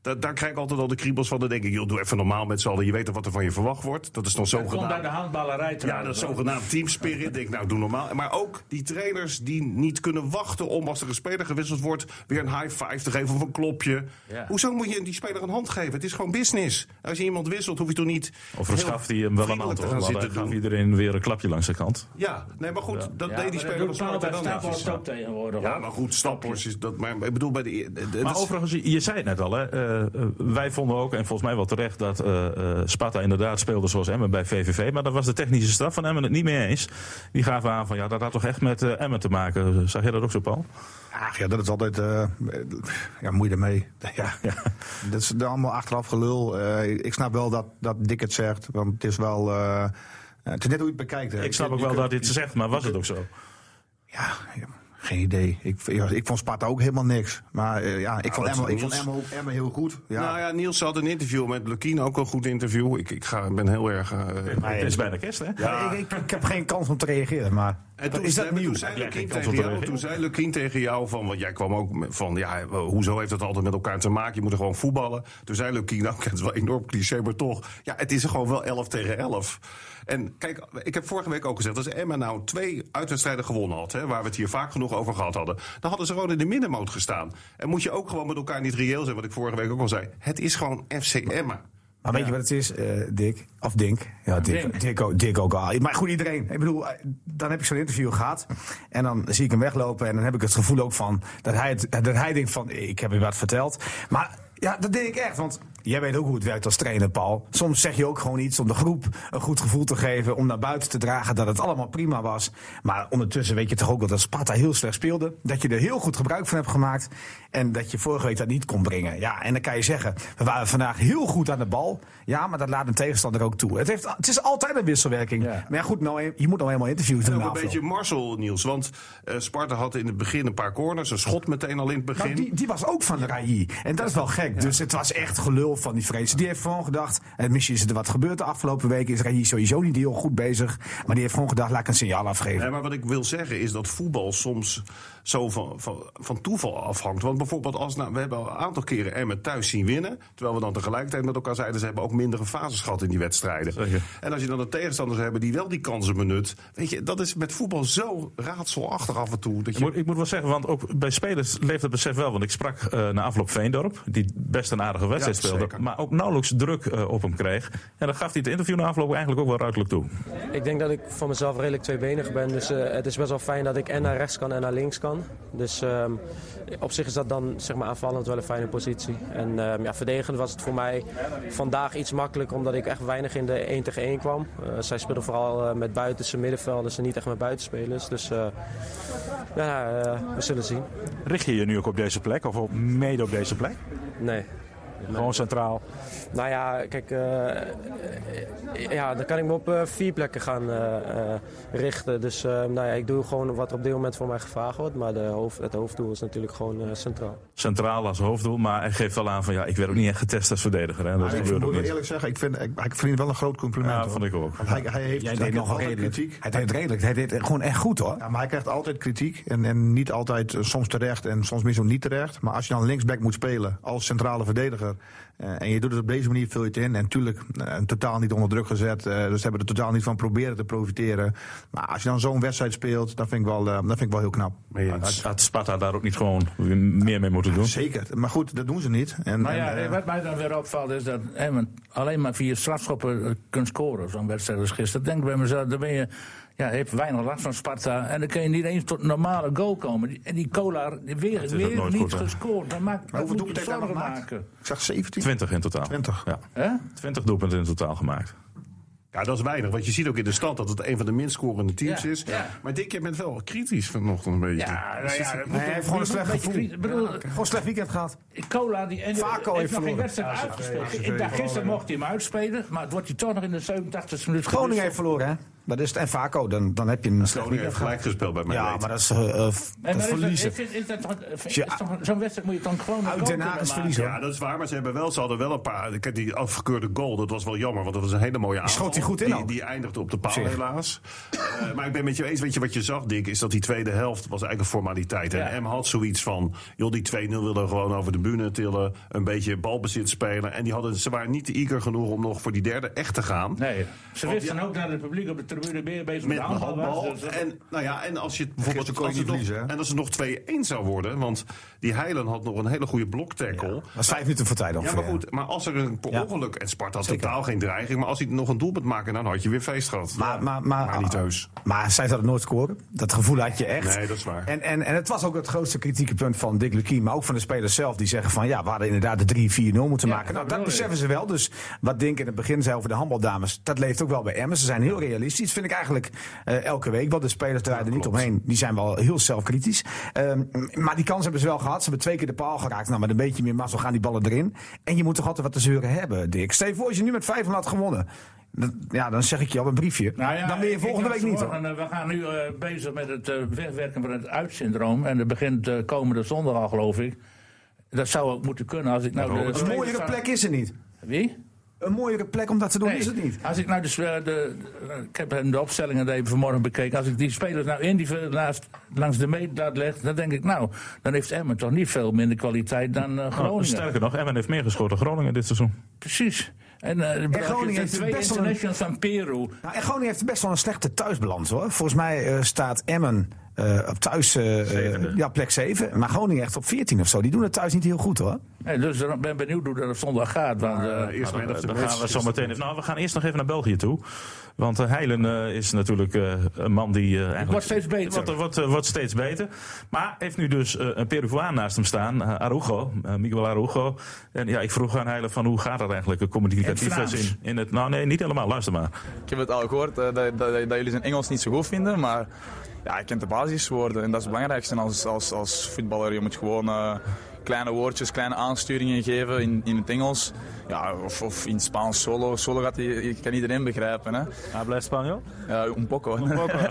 Speaker 6: Daar, daar krijg ik altijd al de kriebels van. Dan denk ik, joh, doe even normaal met z'n allen. Je weet toch wat er van je verwacht wordt. Dat is dan zo
Speaker 5: Dat komt uit de
Speaker 6: gedaan.
Speaker 5: handballerij
Speaker 6: Ja, dat
Speaker 5: trouwens.
Speaker 6: is zogenaamd teamspirit. Denk, nou, doe normaal. Maar ook die trainers die niet kunnen wachten om als er een speler gewisseld wordt... weer een high five te geven of een klopje.
Speaker 5: Ja.
Speaker 6: Hoezo moet je die speler een hand geven? Het is gewoon business. Als je iemand wisselt, hoef je toch niet...
Speaker 2: Of
Speaker 6: heel
Speaker 2: verschaft hij hem wel een
Speaker 6: vriendelijk te
Speaker 2: antwoord? Want
Speaker 6: gaan
Speaker 2: hij
Speaker 6: zitten
Speaker 2: gaf
Speaker 6: doen.
Speaker 2: iedereen weer een klapje langs de kant.
Speaker 6: Ja, nee, maar goed, dat
Speaker 5: Ja,
Speaker 6: deed die
Speaker 5: maar
Speaker 6: speler van
Speaker 5: doet Paul
Speaker 6: Sparta
Speaker 5: bij
Speaker 6: dan
Speaker 5: Stapel
Speaker 6: niet.
Speaker 5: ook tegenwoordig.
Speaker 6: Ja,
Speaker 5: hoor.
Speaker 6: maar goed, Stappers is dat. Maar ik bedoel, bij de. de- de-
Speaker 2: Maar
Speaker 6: dat is-
Speaker 2: overigens, je, je zei het net al, hè? eh, eh, wij vonden ook, en volgens mij wel terecht, dat eh, eh, Sparta inderdaad speelde zoals Emmen bij VVV. Maar daar was de technische staf van Emmen het niet mee eens. Die gaven aan van, ja, dat had toch echt met eh, Emmen te maken. Zag jij dat ook zo, Paul?
Speaker 3: Ach ja, dat is altijd. eh, ja, moeite mee. Ja, ja. Dat is allemaal achteraf gelul. Eh, ik snap wel dat, dat Dick het zegt, want het is wel. eh, eh, het is net hoe je het bekijkt. hè.
Speaker 2: Ik snap ook
Speaker 3: Je
Speaker 2: wel
Speaker 3: kunt-
Speaker 2: dat dit zegt, maar was het ook zo?
Speaker 3: Ja, ja, geen idee. Ik, ja, ik vond Sparta ook helemaal niks. Maar eh, ja, ik vond
Speaker 6: dat
Speaker 3: Emma,
Speaker 6: is
Speaker 3: ik vond
Speaker 6: ons.
Speaker 3: Emma, ook, Emma heel goed. Ja.
Speaker 6: Nou ja, Niels had een interview met Lukien, ook een goed interview. Ik, ik ga, ik ben heel erg. eh,
Speaker 2: het is bijna kerst, hè?
Speaker 6: ja.
Speaker 4: Ik, ik, ik heb geen kans om te reageren, maar
Speaker 6: En toen,
Speaker 4: is
Speaker 6: nee,
Speaker 4: dat
Speaker 6: maar
Speaker 4: nieuw?
Speaker 6: toen zei
Speaker 2: Ja,
Speaker 6: Lukien
Speaker 2: ik kan
Speaker 6: tegen
Speaker 2: zo
Speaker 6: jou,
Speaker 2: bewegen.
Speaker 6: toen zei Lukien tegen jou van, want jij kwam ook met- van, ja, hoezo heeft dat altijd met elkaar te maken? Je moet er gewoon voetballen. Toen zei Lukien ook, het is wel enorm cliché, maar toch, ja, het is gewoon wel 11 tegen 11. En kijk, ik heb vorige week ook gezegd, als Emma nou twee uitwedstrijden gewonnen had, hè, waar we het hier vaak genoeg over gehad hadden, dan hadden ze gewoon in de middenmoot gestaan. En moet je ook gewoon met elkaar niet reëel zijn, wat ik vorige week ook al zei. Het is gewoon FC Emma.
Speaker 4: Maar weet je wat het is, eh, Dick? Of Dink? Ja, Dick,
Speaker 5: Dink.
Speaker 4: Dick. ook, Dick ook al. Maar goed, iedereen. Ik bedoel, eh, dan heb ik zo'n interview gehad. En dan zie ik hem weglopen. En dan heb ik het gevoel ook van dat hij, het, dat hij denkt van, ik heb je wat verteld. Maar ja, dat denk ik echt. Want jij weet ook hoe het werkt als trainer, Paul. Soms zeg je ook gewoon iets om de groep een goed gevoel te geven. Om naar buiten te dragen dat het allemaal prima was. Maar ondertussen weet je toch ook wel dat Sparta heel slecht speelde. Dat je er heel goed gebruik van hebt gemaakt. En dat je vorige week dat niet kon brengen. Ja, en dan kan je zeggen, we waren vandaag heel goed aan de bal. Ja, maar dat laat een tegenstander ook toe. Het, heeft, het is altijd een wisselwerking.
Speaker 5: Ja.
Speaker 4: Maar ja, goed, nou, e- je moet nou helemaal interviews doen.
Speaker 6: En
Speaker 4: na
Speaker 6: ook een
Speaker 4: afloop.
Speaker 6: beetje Marcel, Niels. Want eh, Sparta had in het begin een paar corners. Een schot meteen al in het
Speaker 4: Nou,
Speaker 6: begin.
Speaker 4: die, die was ook van de RAI. En dat is wel gek. Dus het was echt gelul van die vrees. Die heeft gewoon gedacht. En misschien is er wat gebeurd de afgelopen weken. Is RAI sowieso niet heel goed bezig. Maar die heeft gewoon gedacht: laat ik een signaal afgeven.
Speaker 6: Nee, maar wat ik wil zeggen is dat voetbal soms zo van, van, van toeval afhangt. Want bijvoorbeeld, als, nou, we hebben al een aantal keren Emmen thuis zien winnen. Terwijl we dan tegelijkertijd met elkaar zeiden, ze hebben ook mindere fases gehad in die wedstrijden.
Speaker 2: Zeker.
Speaker 6: En als je dan de tegenstanders hebt die wel die kansen benut. Weet je, dat is met voetbal zo raadselachtig af en toe. Dat
Speaker 2: Ik
Speaker 6: je,
Speaker 2: moet, ik moet wel zeggen, want ook bij spelers leeft het besef wel. Want ik sprak eh na afloop Veendorp, die best een aardige wedstrijd
Speaker 6: Ja,
Speaker 2: speelde. speelde. Maar ook nauwelijks druk eh, op hem kreeg. En dat gaf hij het interview na afloop eigenlijk ook wel ruidelijk toe.
Speaker 9: Ik denk dat ik van mezelf redelijk tweebenig ben. Dus eh, het is best wel fijn dat ik en naar rechts kan en naar links kan. Dus ehm, op zich is dat dan zeg maar, aanvallend wel een fijne positie. En ehm, ja, verdedigend was het voor mij vandaag iets makkelijker omdat ik echt weinig in de 1 tegen 1 kwam. Eh, zij speelden vooral eh, met buitense middenvelders en niet echt met buitenspelers. Dus eh, ja, eh, we zullen zien.
Speaker 7: Richt je je nu ook op deze plek of op, mede op deze plek?
Speaker 9: Nee.
Speaker 7: Gewoon centraal.
Speaker 9: Nou ja, kijk, eh, eh, ja, dan kan ik me op eh, vier plekken gaan eh, eh, richten. Dus eh, nou ja, ik doe gewoon wat er op dit moment voor mij gevraagd wordt. Maar de hoofd, het hoofddoel is natuurlijk gewoon eh, centraal.
Speaker 2: Centraal als hoofddoel, maar hij geeft wel aan van ja, ik werd ook niet echt getest als verdediger. Hè. Dat
Speaker 4: Maar ik
Speaker 2: gebeurde ook
Speaker 4: moet
Speaker 2: niet.
Speaker 4: eerlijk zeggen, ik vind, ik, ik verdient wel een groot compliment.
Speaker 2: Ja,
Speaker 4: hoor.
Speaker 2: vond ik ook.
Speaker 4: Want hij, hij
Speaker 3: Jij
Speaker 4: heeft hij
Speaker 3: deed
Speaker 4: krijgt
Speaker 3: nogal
Speaker 4: altijd
Speaker 3: redelijk.
Speaker 4: kritiek.
Speaker 3: Hij deed redelijk. Hij deed gewoon echt goed hoor.
Speaker 4: Ja, maar hij krijgt altijd kritiek. En, en niet altijd, eh, soms terecht en soms misschien niet terecht. Maar als je dan linksback moet spelen als centrale verdediger. eh, en je doet het op deze manier, vul je het in. En tuurlijk, eh, totaal niet onder druk gezet. eh, dus ze hebben er totaal niet van proberen te profiteren. Maar als je dan zo'n wedstrijd speelt, dan vind ik wel, eh, dan vind ik wel heel knap.
Speaker 2: Had, had Sparta daar ook niet gewoon meer mee moeten doen?
Speaker 4: Zeker. Maar goed, dat doen ze niet. En,
Speaker 5: Nou ja,
Speaker 4: en, eh,
Speaker 5: wat mij dan weer opvalt is dat Emmen alleen maar via strafschoppen eh, kunt scoren. Zo'n wedstrijd als gisteren. Denk ik bij mezelf, dan ben je, ja, je hebt weinig last van Sparta. En dan kun je niet eens tot een normale goal komen. Die- En die Kolar, die weer,
Speaker 2: is ook
Speaker 5: weer
Speaker 2: nooit
Speaker 5: niet
Speaker 2: goed, hè?
Speaker 5: gescoord. Dan maakt dat
Speaker 4: hoeveel
Speaker 5: moet je
Speaker 4: doelpunten heeft hij
Speaker 5: zorgen
Speaker 4: nog gemaakt?
Speaker 5: maken.
Speaker 4: ik zag 17.
Speaker 2: 20 in totaal.
Speaker 4: 20.
Speaker 2: Ja,
Speaker 5: Hè?
Speaker 2: 20 doelpunten in totaal gemaakt.
Speaker 6: Ja, dat is weinig. Want je ziet ook in de stad dat het een van de minst scorende teams
Speaker 5: Ja,
Speaker 6: is.
Speaker 5: ja.
Speaker 6: Maar Dick, je bent wel kritisch vanochtend een beetje. Dus
Speaker 5: Ja, nou ja, dat moet-
Speaker 3: Hij heeft gewoon een slecht
Speaker 5: beetje
Speaker 3: gevoel.
Speaker 5: kritisch- ik bedoel,
Speaker 3: Gewoon een slecht weekend gehad.
Speaker 5: Cola die en
Speaker 3: Vaco heeft
Speaker 5: heeft nog geen
Speaker 3: verloren.
Speaker 5: wedstrijd uitgespeeld. Ik dacht, gisteren mocht hij hem uitspelen, maar het wordt hij toch nog in de 87 minuut
Speaker 3: Groningen
Speaker 5: gewisseld.
Speaker 3: heeft verloren hè. Dat is het. En Vaco, dan, dan heb je een slecht
Speaker 6: Groningen
Speaker 3: weekend
Speaker 6: heeft
Speaker 3: gehad.
Speaker 6: gelijk gespeeld bij mij.
Speaker 3: Ja,
Speaker 6: weten.
Speaker 3: maar dat is eh, eh, f-
Speaker 5: En
Speaker 3: dat
Speaker 5: maar is dat-
Speaker 3: verliezen.
Speaker 5: is- is- is dat toch- is
Speaker 3: Ja.
Speaker 5: toch- Zo'n wedstrijd moet je dan gewoon...
Speaker 3: Uit Den Haag is verliezen. hoor.
Speaker 6: Ja, dat is waar, maar ze, hebben wel, ze hadden wel een paar... Kijk, die afgekeurde goal, dat was wel jammer, want dat was een hele mooie aanval.
Speaker 3: schoot hij goed in
Speaker 6: Die,
Speaker 3: ook.
Speaker 6: die eindigde op de paal,
Speaker 3: zich.
Speaker 6: helaas. Eh, maar ik ben met je eens, weet je wat je zag, Dick, is dat die tweede helft was eigenlijk een formaliteit. En M had zoiets van, joh, die 2-0 wilden gewoon over de bühne tillen, een beetje balbezit spelen. En die hadden, ze waren niet eager genoeg om nog voor die derde echt te gaan.
Speaker 5: Nee, ze
Speaker 6: Want
Speaker 5: wisten
Speaker 6: ja-
Speaker 5: ook dat het publiek op de tribune meer bezig met
Speaker 6: Met
Speaker 5: de
Speaker 6: een
Speaker 5: handbal was.
Speaker 6: handbal.
Speaker 5: dus dat-
Speaker 6: En, nou ja, en als je het bijvoorbeeld.
Speaker 4: Gisteren kon
Speaker 6: als het
Speaker 4: je
Speaker 6: nog-
Speaker 4: niet verliezen, hè?
Speaker 6: en als het nog 2-1 zou worden. Want die Heilen had nog een hele goede bloktackle.
Speaker 3: Dat is vijf minuten voor tijd
Speaker 6: Ja,
Speaker 3: ongeveer.
Speaker 2: eh,
Speaker 6: maar goed. Maar als er een per
Speaker 3: Ja.
Speaker 6: ongeluk. En Sparta had totaal geen dreiging. Maar als hij nog een doelpunt maakte, dan had je weer feest gehad.
Speaker 3: Maar,
Speaker 6: Ja.
Speaker 3: maar, maar,
Speaker 6: niet heus.
Speaker 3: Maar zij zouden nooit scoren. Dat gevoel had je echt.
Speaker 6: Nee, dat is waar.
Speaker 3: En, en, en het was ook het grootste kritieke punt van Dick Lukien. Maar ook van de spelers zelf. Die zeggen van ja, we hadden inderdaad de 3-4-0 moeten maken. Nou, dat
Speaker 5: bedoel ik.
Speaker 3: beseffen ze wel. Dus wat Dink in het begin zei over de handbaldames. Dat leeft ook wel bij Emmen. Ze zijn heel realistisch. Vind ik eigenlijk eh, elke week. Want de spelers draaien er niet omheen. Die zijn wel heel zelfkritisch. Ehm, maar die kans hebben ze wel gehad. Ze hebben twee keer de paal geraakt. Nou, met een beetje meer mazzel gaan die ballen erin. En je moet toch altijd wat te zeuren hebben, Dick. Stel je voor, als je nu met 5 had gewonnen. Dat- ja, dan zeg ik je op een briefje.
Speaker 5: Nou ja,
Speaker 3: dan ben je
Speaker 5: ik
Speaker 3: volgende
Speaker 5: dacht
Speaker 3: week niet. hoor.
Speaker 5: vanmorgen, eh, we gaan nu eh, bezig met het eh, wegwerken van het uitsyndroom. En dat begint eh, komende zondag al, geloof ik. Dat zou ook moeten kunnen als ik nou... de-
Speaker 3: Een mooiere plek is er niet.
Speaker 5: Wie?
Speaker 3: Een mooiere plek om dat te doen
Speaker 5: Nee,
Speaker 3: is het niet.
Speaker 5: Als ik nou dus, eh, de, de- ik heb hem de opstellingen even vanmorgen bekeken. Als ik die spelers nou individueel naast, langs de meetlat leg, dan denk ik, nou, dan heeft Emmen toch niet veel minder kwaliteit dan eh,
Speaker 2: Nou,
Speaker 5: Groningen.
Speaker 2: sterker nog, Emmen heeft meer geschoten dan Groningen dit seizoen.
Speaker 5: Precies. En eh, de
Speaker 3: Groningen heeft
Speaker 5: twee
Speaker 3: best wel een-
Speaker 5: internationals van Peru.
Speaker 3: Nou, en Groningen heeft best wel een slechte thuisbalans hoor. Volgens mij eh, staat Emmen eh, op thuis eh, eh, ja, plek 7. Maar Groningen echt op 14 of zo. Die doen het thuis niet heel goed hoor.
Speaker 5: Eh, dus ik ben benieuwd hoe dat op zondag gaat. Want, eh,
Speaker 6: Eh, eerst
Speaker 2: Nou,
Speaker 6: mijn
Speaker 2: dan,
Speaker 6: of the
Speaker 2: dan
Speaker 6: match.
Speaker 2: gaan we zo meteen even, nou, we gaan eerst nog even naar België toe. Want eh, Heilen eh, is natuurlijk eh, een man die... eh, eigenlijk,
Speaker 5: wordt steeds beter.
Speaker 2: Wordt, wordt, eh, wordt steeds beter. Maar heeft nu dus eh, een Peruviaan naast hem staan. eh, Arugo, eh, Miguel Arugo. En ja, ik vroeg aan Heilen van hoe gaat dat eigenlijk? eh,
Speaker 5: In
Speaker 2: Communicatief
Speaker 5: het Vlaams.
Speaker 2: in, in het... Nou nee, niet helemaal. Luister maar.
Speaker 10: Ik heb het al gehoord eh, dat, dat, dat jullie zijn Engels niet zo goed vinden, maar ja, je kent de basiswoorden en dat is het belangrijkste als, als, als voetballer. Je moet gewoon eh, kleine woordjes, kleine aansturingen geven in, in het Engels. Ja, of, of in het Spaans solo. Solo gaat, i- i- kan iedereen begrijpen. Hè?
Speaker 2: Hij blijft Spanje.
Speaker 10: Ja, un poco.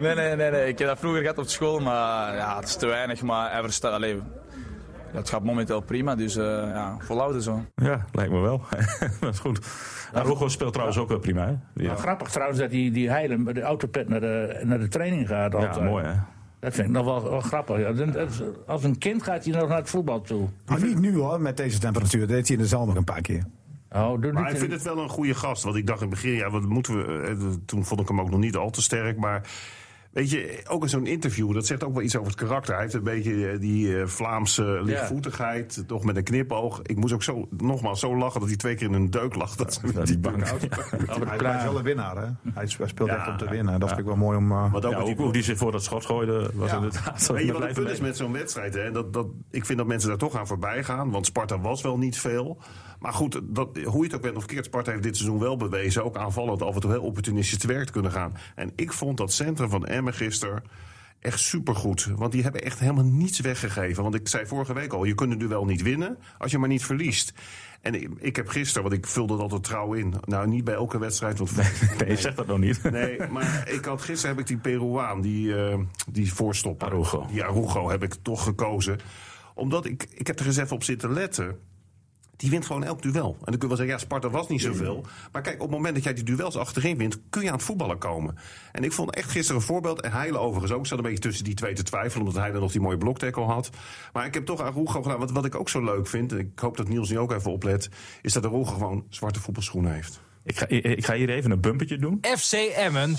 Speaker 10: nee, nee, nee, nee. Ik heb dat vroeger gehad op school, maar ja, het is te weinig. Maar hij verstaat, allee, dat gaat momenteel prima, dus eh ja, volhouden zo.
Speaker 2: Ja, lijkt me wel. dat is goed. Arugo speelt trouwens ook wel prima. Hè? Ja,
Speaker 5: Grappig trouwens dat die, die Heilen met de autopet naar de, naar de training gaat.
Speaker 2: ja,
Speaker 5: Altijd.
Speaker 2: mooi hè.
Speaker 5: Dat vind ik nog wel, wel grappig. ja. Dat- dat is- Als een kind gaat hij nog naar het voetbal toe.
Speaker 3: Maar niet nu hoor, met deze temperatuur. Dat deed hij in de zomer een paar keer.
Speaker 5: Oh, doe
Speaker 6: Maar
Speaker 5: niet-
Speaker 6: ik vind het wel een goede gast. Want ik dacht in het begin, ja, wat moeten we. eh, eh, Toen vond ik hem ook nog niet al te sterk. Maar Weet je, ook in zo'n interview, dat zegt ook wel iets over het karakter. Hij heeft een beetje eh, die eh, Vlaamse lichtvoetigheid, toch met een knipoog. Ik moest ook zo, nogmaals zo lachen dat hij twee keer in een deuk lag. Dat met die bank.
Speaker 4: Hij hij is wel een winnaar, hè? Hij is- hij speelt echt
Speaker 6: Ja,
Speaker 4: om te winnen. Dat vind ik wel mooi om... eh,
Speaker 6: Want ook
Speaker 2: Ja,
Speaker 6: met die
Speaker 2: ook hoe die zich voor dat schot gooide, was
Speaker 6: Ja.
Speaker 2: inderdaad...
Speaker 6: Weet je wat het
Speaker 2: blijven
Speaker 6: punt is
Speaker 2: mee.
Speaker 6: met zo'n wedstrijd? Hè? Dat, dat, ik vind dat mensen daar toch aan voorbij gaan. Want Sparta was wel niet veel. Maar goed, dat, hoe je het ook bent of keert, Sparta heeft dit seizoen wel bewezen. Ook aanvallend af en toe heel opportunistisch te werk te kunnen gaan. En ik vond dat centrum van Emmen gisteren echt supergoed. Want die hebben echt helemaal niets weggegeven. Want ik zei vorige week al, je kunt het duel niet winnen als je maar niet verliest. En ik, ik heb gisteren, want ik vulde dat altijd trouw in. Nou, niet bij elke wedstrijd, want
Speaker 2: Nee, zeg dat nog niet.
Speaker 6: Nee, maar ik had, gisteren heb ik die Peruaan, die, eh die voorstopper.
Speaker 2: Arugo.
Speaker 6: Die Arugo heb ik toch gekozen. Omdat ik, ik heb er eens even op zitten letten. Die wint gewoon elk duel. En dan kun je wel zeggen, ja, Sparta was niet zoveel. Maar kijk, op het moment dat jij die duels achterin wint... kun je aan het voetballen komen. En ik vond echt gisteren een voorbeeld. En Heile overigens ook. Ik zat een beetje tussen die twee te twijfelen... omdat Heile nog die mooie bloktackle had. Maar ik heb toch Arugo gedaan. Wat, wat ik ook zo leuk vind... en ik hoop dat Niels nu ook even oplet... is dat Arugo gewoon zwarte voetbalschoenen heeft.
Speaker 2: Ik ga, ik, ik ga hier even een bumpertje doen
Speaker 1: FC Emmen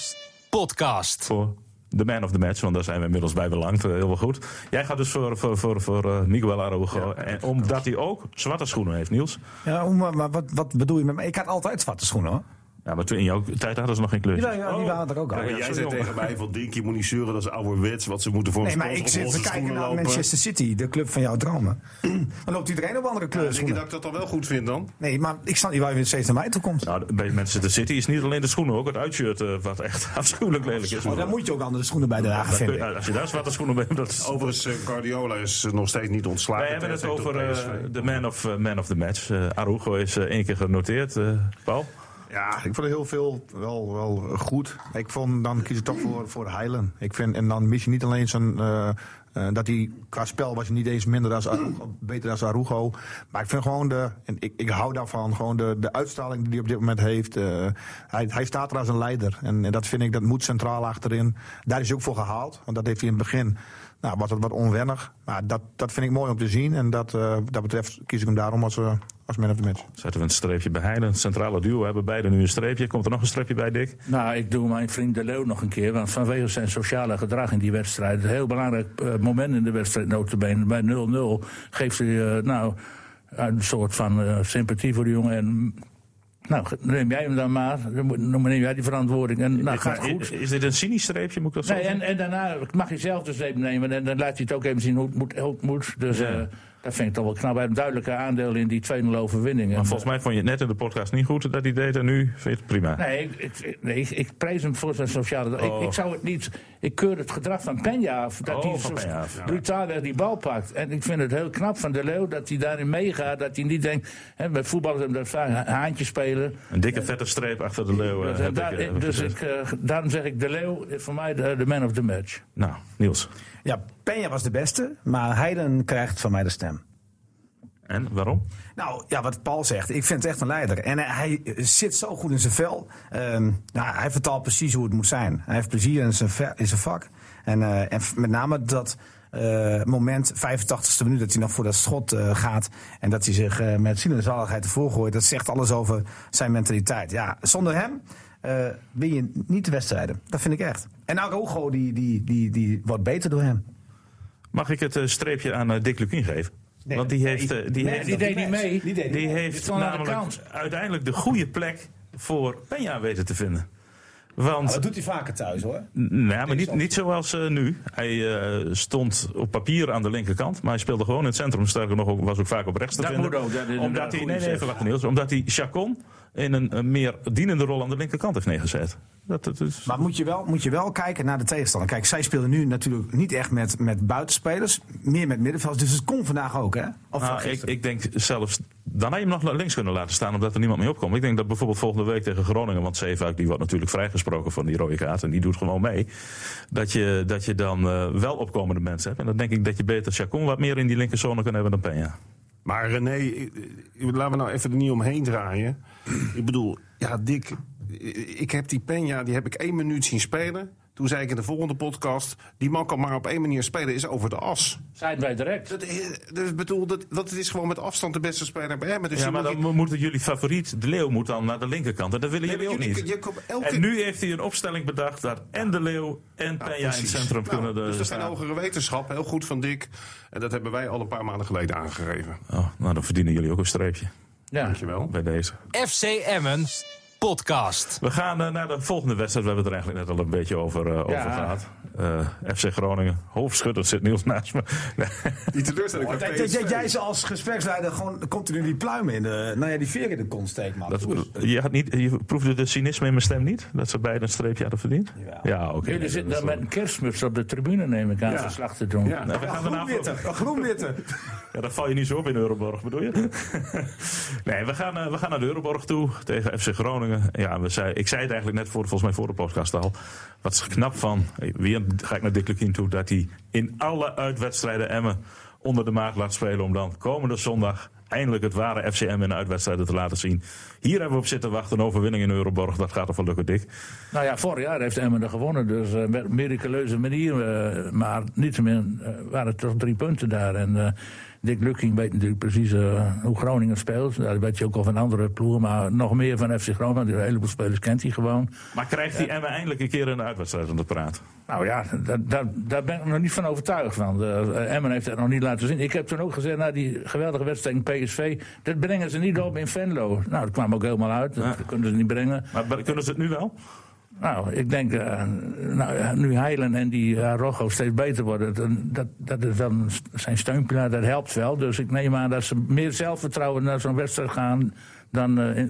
Speaker 1: podcast.
Speaker 2: voor de man of the match. Want daar zijn we inmiddels bij belangt. eh, heel wel goed. Jij gaat dus voor, voor, voor, voor eh, Miguel Araujo. en omdat hij ook zwarte schoenen heeft, Niels.
Speaker 3: Ja, hoe- maar maar wat, wat bedoel je met... Ik had altijd zwarte schoenen, hoor.
Speaker 2: Ja, maar toen in jouw tijd hadden ze nog geen Oh. kleur.
Speaker 3: Ja, ja, die waren er ook al.
Speaker 6: Ja, jij
Speaker 2: sorry,
Speaker 6: zei
Speaker 2: jongen.
Speaker 6: tegen mij van Dinkie moet niet zeuren, dat is ouderwets. Wat ze moeten voor
Speaker 3: Nee,
Speaker 6: een
Speaker 3: maar ik zit te kijken naar Manchester City, de club van jouw dromen. Dan loopt iedereen op andere
Speaker 6: Denk je dat
Speaker 3: kleuren.
Speaker 6: ik dat dan wel goed vind dan?
Speaker 3: Nee, maar ik snap niet waar je steeds naar mij toe komt.
Speaker 2: Nou, bij Manchester City is niet alleen de schoenen, ook het uitshirt eh, wat echt afschuwelijk lelijk is.
Speaker 3: Maar daar moet je ook andere schoenen bij dragen,
Speaker 2: Daar kun
Speaker 3: vind
Speaker 2: je-
Speaker 3: ik. Oh,
Speaker 2: nou, als je daar zwarte schoenen bij hebt, dat is...
Speaker 6: Overigens, eh, Guardiola is eh, nog steeds niet ontslagen.
Speaker 2: Wij hebben het
Speaker 6: Hij heeft
Speaker 2: over
Speaker 6: op
Speaker 2: eh,
Speaker 6: PSV.
Speaker 2: de man of, eh, man of the match. Eh Arugo is eh, één keer genoteerd, eh, Paul.
Speaker 4: Ja, ik vond er heel veel wel, wel goed. Ik vond, dan kies ik toch voor, voor Heilen. Ik vind, en dan mis je niet alleen zijn... eh, eh, dat hij qua spel was hij niet eens minder dan Arugo, beter dan Arugo. Maar ik vind gewoon de. En ik, ik hou daarvan. Gewoon de, de uitstraling die hij op dit moment heeft. eh, hij, hij staat er als een leider. En, en dat vind ik, dat moet centraal achterin. Daar is hij ook voor gehaald. Want dat heeft hij in het begin. Nou, was het wat onwennig. Maar dat, dat vind ik mooi om te zien. En dat, eh, wat dat betreft kies ik hem daarom als, eh, als man of the match.
Speaker 2: Zetten we een streepje bij Heilen. Centrale duo hebben beide nu een streepje. Komt er nog een streepje bij, Dick?
Speaker 5: Nou, ik doe mijn vriend De Leeuw nog een keer. Want vanwege zijn sociale gedrag in die wedstrijd. Een heel belangrijk eh, moment in de wedstrijd, notabene. Bij 0-0 geeft hij eh, nou een soort van eh, sympathie voor de jongen. En, nou, neem jij hem dan maar. Dan moet- dan neem jij die verantwoording. En nou, gaat
Speaker 2: Maar i-
Speaker 5: goed.
Speaker 2: Is, dit een cynisch streepje, moet ik dat zo
Speaker 5: Nee, en,
Speaker 2: zeggen?
Speaker 5: en daarna mag je zelf de zeep nemen. En dan laat hij het ook even zien hoe het moet. Hoe het moet. Dus eh, dat vind ik toch wel knap. Hij heeft een duidelijke aandeel in die 2-0 overwinning. En,
Speaker 2: Maar volgens mij vond je het net in de podcast niet goed dat hij deed. En nu vind je het prima.
Speaker 5: eh, Nee, ik, ik, nee, ik, ik prijs hem voor zijn sociale.
Speaker 2: Oh.
Speaker 5: Ik, ik zou het niet. Ik keur het gedrag van Penja af. Dat
Speaker 2: Oh,
Speaker 5: hij
Speaker 2: van
Speaker 5: zo
Speaker 2: Peña af, ja.
Speaker 5: brutaal weg die bal pakt. En ik vind het heel knap van De Leeuw dat hij daarin meegaat. Dat hij niet denkt. Hè, met voetballers hebben dat vaak ha- haantjes spelen.
Speaker 2: Een dikke vette streep achter de leeuw. eh,
Speaker 5: Dat-
Speaker 2: heb
Speaker 5: daar-
Speaker 2: ik, eh, heb ik
Speaker 5: dus
Speaker 2: gezegd.
Speaker 5: ik, eh, daarom zeg ik De Leeuw is voor mij de, de man of the match.
Speaker 2: Nou, Niels.
Speaker 3: Ja, Peña was de beste, maar Heiden krijgt van mij de stem.
Speaker 2: En waarom?
Speaker 3: Nou, ja, wat Paul zegt, ik vind het echt een leider. En eh, hij eh, zit zo goed in zijn vel. Ehm, nou, hij vertaalt precies hoe het moet zijn. Hij heeft plezier in zijn, ve- in zijn vak. En, eh, en f- met name dat eh, moment, 85ste minuut, dat hij nog voor dat schot eh, gaat. En dat hij zich eh, met ziel en zaligheid ervoor gooit. Dat zegt alles over zijn mentaliteit. Ja, zonder hem eh, win je niet de wedstrijden. Dat vind ik echt. En Arogo, die, die, die, die wordt beter door hem.
Speaker 2: Mag ik het eh, streepje aan eh, Dick Lukien geven?
Speaker 3: Nee,
Speaker 2: Want die heeft, eh, die
Speaker 3: nee,
Speaker 2: heeft,
Speaker 5: die deed niet
Speaker 3: mee.
Speaker 5: mee.
Speaker 3: Die deed niet
Speaker 2: die
Speaker 5: Die
Speaker 2: heeft
Speaker 5: stond aan de
Speaker 2: namelijk
Speaker 5: kant.
Speaker 2: uiteindelijk de goede plek voor Penja weten te vinden.
Speaker 5: Nou,
Speaker 2: Want
Speaker 3: doet hij vaker thuis hoor.
Speaker 2: Nou, maar niet, niet zoals eh, nu. Hij eh, stond op papier aan de linkerkant, maar hij speelde gewoon in het centrum. Sterker nog, ook- was ook vaak op rechts te
Speaker 5: Dat
Speaker 2: vinden.
Speaker 5: moet ook, dat is
Speaker 2: omdat
Speaker 5: inderdaad
Speaker 2: hij, nee,
Speaker 5: goed
Speaker 2: nee,
Speaker 5: gezegd.
Speaker 2: even wachten, Niels. Omdat hij Chacon in een, een meer dienende rol aan de linkerkant heeft neergezet. Dat, dat is,
Speaker 3: Maar moet je, wel, moet je wel kijken naar de tegenstander. Kijk, zij speelden nu natuurlijk niet echt met, met buitenspelers. Meer met middenvelders. Dus het kon vandaag ook, hè? Of
Speaker 2: Nou, ik,
Speaker 3: gisteren.
Speaker 2: ik denk zelfs, dan had je hem nog links kunnen laten staan omdat er niemand mee opkomt. Ik denk dat bijvoorbeeld volgende week tegen Groningen, want Zeefuik die wordt natuurlijk vrijgesproken van die rode kaart en die doet gewoon mee. Dat je, dat je dan eh, wel opkomende mensen hebt. En dan denk ik dat je beter Chacon wat meer in die linkerzone kan hebben dan Peña.
Speaker 6: Maar René, eh, eh, laten we nou even er niet omheen draaien. ik bedoel, ja, Dick, eh, ik heb die Peña, die heb ik één minuut zien spelen. Toen zei ik in de volgende podcast, die man kan maar op één manier spelen, is over de as.
Speaker 5: Zijn wij direct.
Speaker 6: Dat, is- dus bedoel, dat, dat is gewoon met afstand de beste speler bij hem. Dus
Speaker 2: Ja,
Speaker 6: je
Speaker 2: maar
Speaker 6: moet-
Speaker 2: dan moeten jullie favoriet, de Leeuw, moet dan naar de linkerkant. En dat willen
Speaker 6: Nee, maar
Speaker 2: jullie ook
Speaker 6: jullie kun-
Speaker 2: niet.
Speaker 6: je komt elke-
Speaker 2: En nu heeft hij een opstelling bedacht dat en de Leeuw en Penja in het
Speaker 6: Precies.
Speaker 2: centrum
Speaker 6: Nou,
Speaker 2: kunnen.
Speaker 6: Dus
Speaker 2: eh,
Speaker 6: dat zijn
Speaker 2: staan.
Speaker 6: hogere wetenschap, heel goed van Dick. En dat hebben wij al een paar maanden geleden aangegeven.
Speaker 2: Oh, nou, dan verdienen jullie ook een streepje
Speaker 5: Ja.
Speaker 6: Dankjewel.
Speaker 2: bij deze.
Speaker 1: FC Emmen podcast.
Speaker 2: We gaan eh, naar de volgende wedstrijd. We hebben het er eigenlijk net al een beetje over, eh, over
Speaker 5: Ja.
Speaker 2: gehad. Eh, FC Groningen, hoofdschutter zit Niels naast me.
Speaker 6: Die teleurstelling
Speaker 2: Oh,
Speaker 3: Kijk, dat- dat jij ze als gespreksleider gewoon continu die pluimen in de, nou ja, die veer in de kont steekt, man.
Speaker 2: Dat, je, had niet, je proefde de cynisme in mijn stem niet? Dat ze beide een streepje hadden verdiend?
Speaker 3: Jawel.
Speaker 2: Ja, oké.
Speaker 5: Jullie
Speaker 2: Nee,
Speaker 5: zitten
Speaker 2: dat is
Speaker 5: dan met
Speaker 2: wel-
Speaker 5: een kerstmuts op de tribune, neem ik aan, verslag te doen.
Speaker 6: Ja.
Speaker 2: Nou, we gaan daarna
Speaker 3: groenwitte, groenwitte.
Speaker 2: Ja, dat val je niet zo op in Euroborg, bedoel je? nee, we gaan, eh, we gaan naar de Euroborg toe tegen FC Groningen. Ja, we zei, ik zei het eigenlijk net voor, volgens mij voor de podcast al. Wat is er knap van, eh, weer ga ik naar Dick Lukien toe, dat hij in alle uitwedstrijden Emmen onder de maag laat spelen. Om dan komende zondag eindelijk het ware FC Emmen in de uitwedstrijden te laten zien. Hier hebben we op zitten wachten, een overwinning in Euroborg. Dat gaat er wel lukken, Dick.
Speaker 5: Nou ja, vorig jaar heeft Emmen er gewonnen, dus eh, met een miraculeuze manier. eh, maar niettemin eh, waren het toch drie punten daar. En eh, Dick Lukking weet natuurlijk precies eh, hoe Groningen speelt. Dat weet je ook al van andere ploegen, maar nog meer van FC Groningen. want Een heleboel spelers kent hij gewoon.
Speaker 2: Maar krijgt hij Emmen eindelijk een keer in de uitwedstrijd aan de praat?
Speaker 5: Nou ja, daar, daar, daar ben ik nog niet van overtuigd. Want eh, Emmen heeft dat nog niet laten zien. Ik heb toen ook gezegd, na die geweldige wedstrijd tegen PSV... dat brengen ze niet op in Venlo. Nou, dat kwam ook helemaal uit. Dat konden ze niet brengen.
Speaker 2: Maar be- kunnen ze het nu wel?
Speaker 5: Nou, ik denk, eh, nou, ja, nu Heilen en die eh, Rocco steeds beter worden... dan- dat, dat is wel een st- zijn steunpilaar, dat helpt wel. Dus ik neem aan dat ze meer zelfvertrouwen naar zo'n wedstrijd gaan... dan eh, in,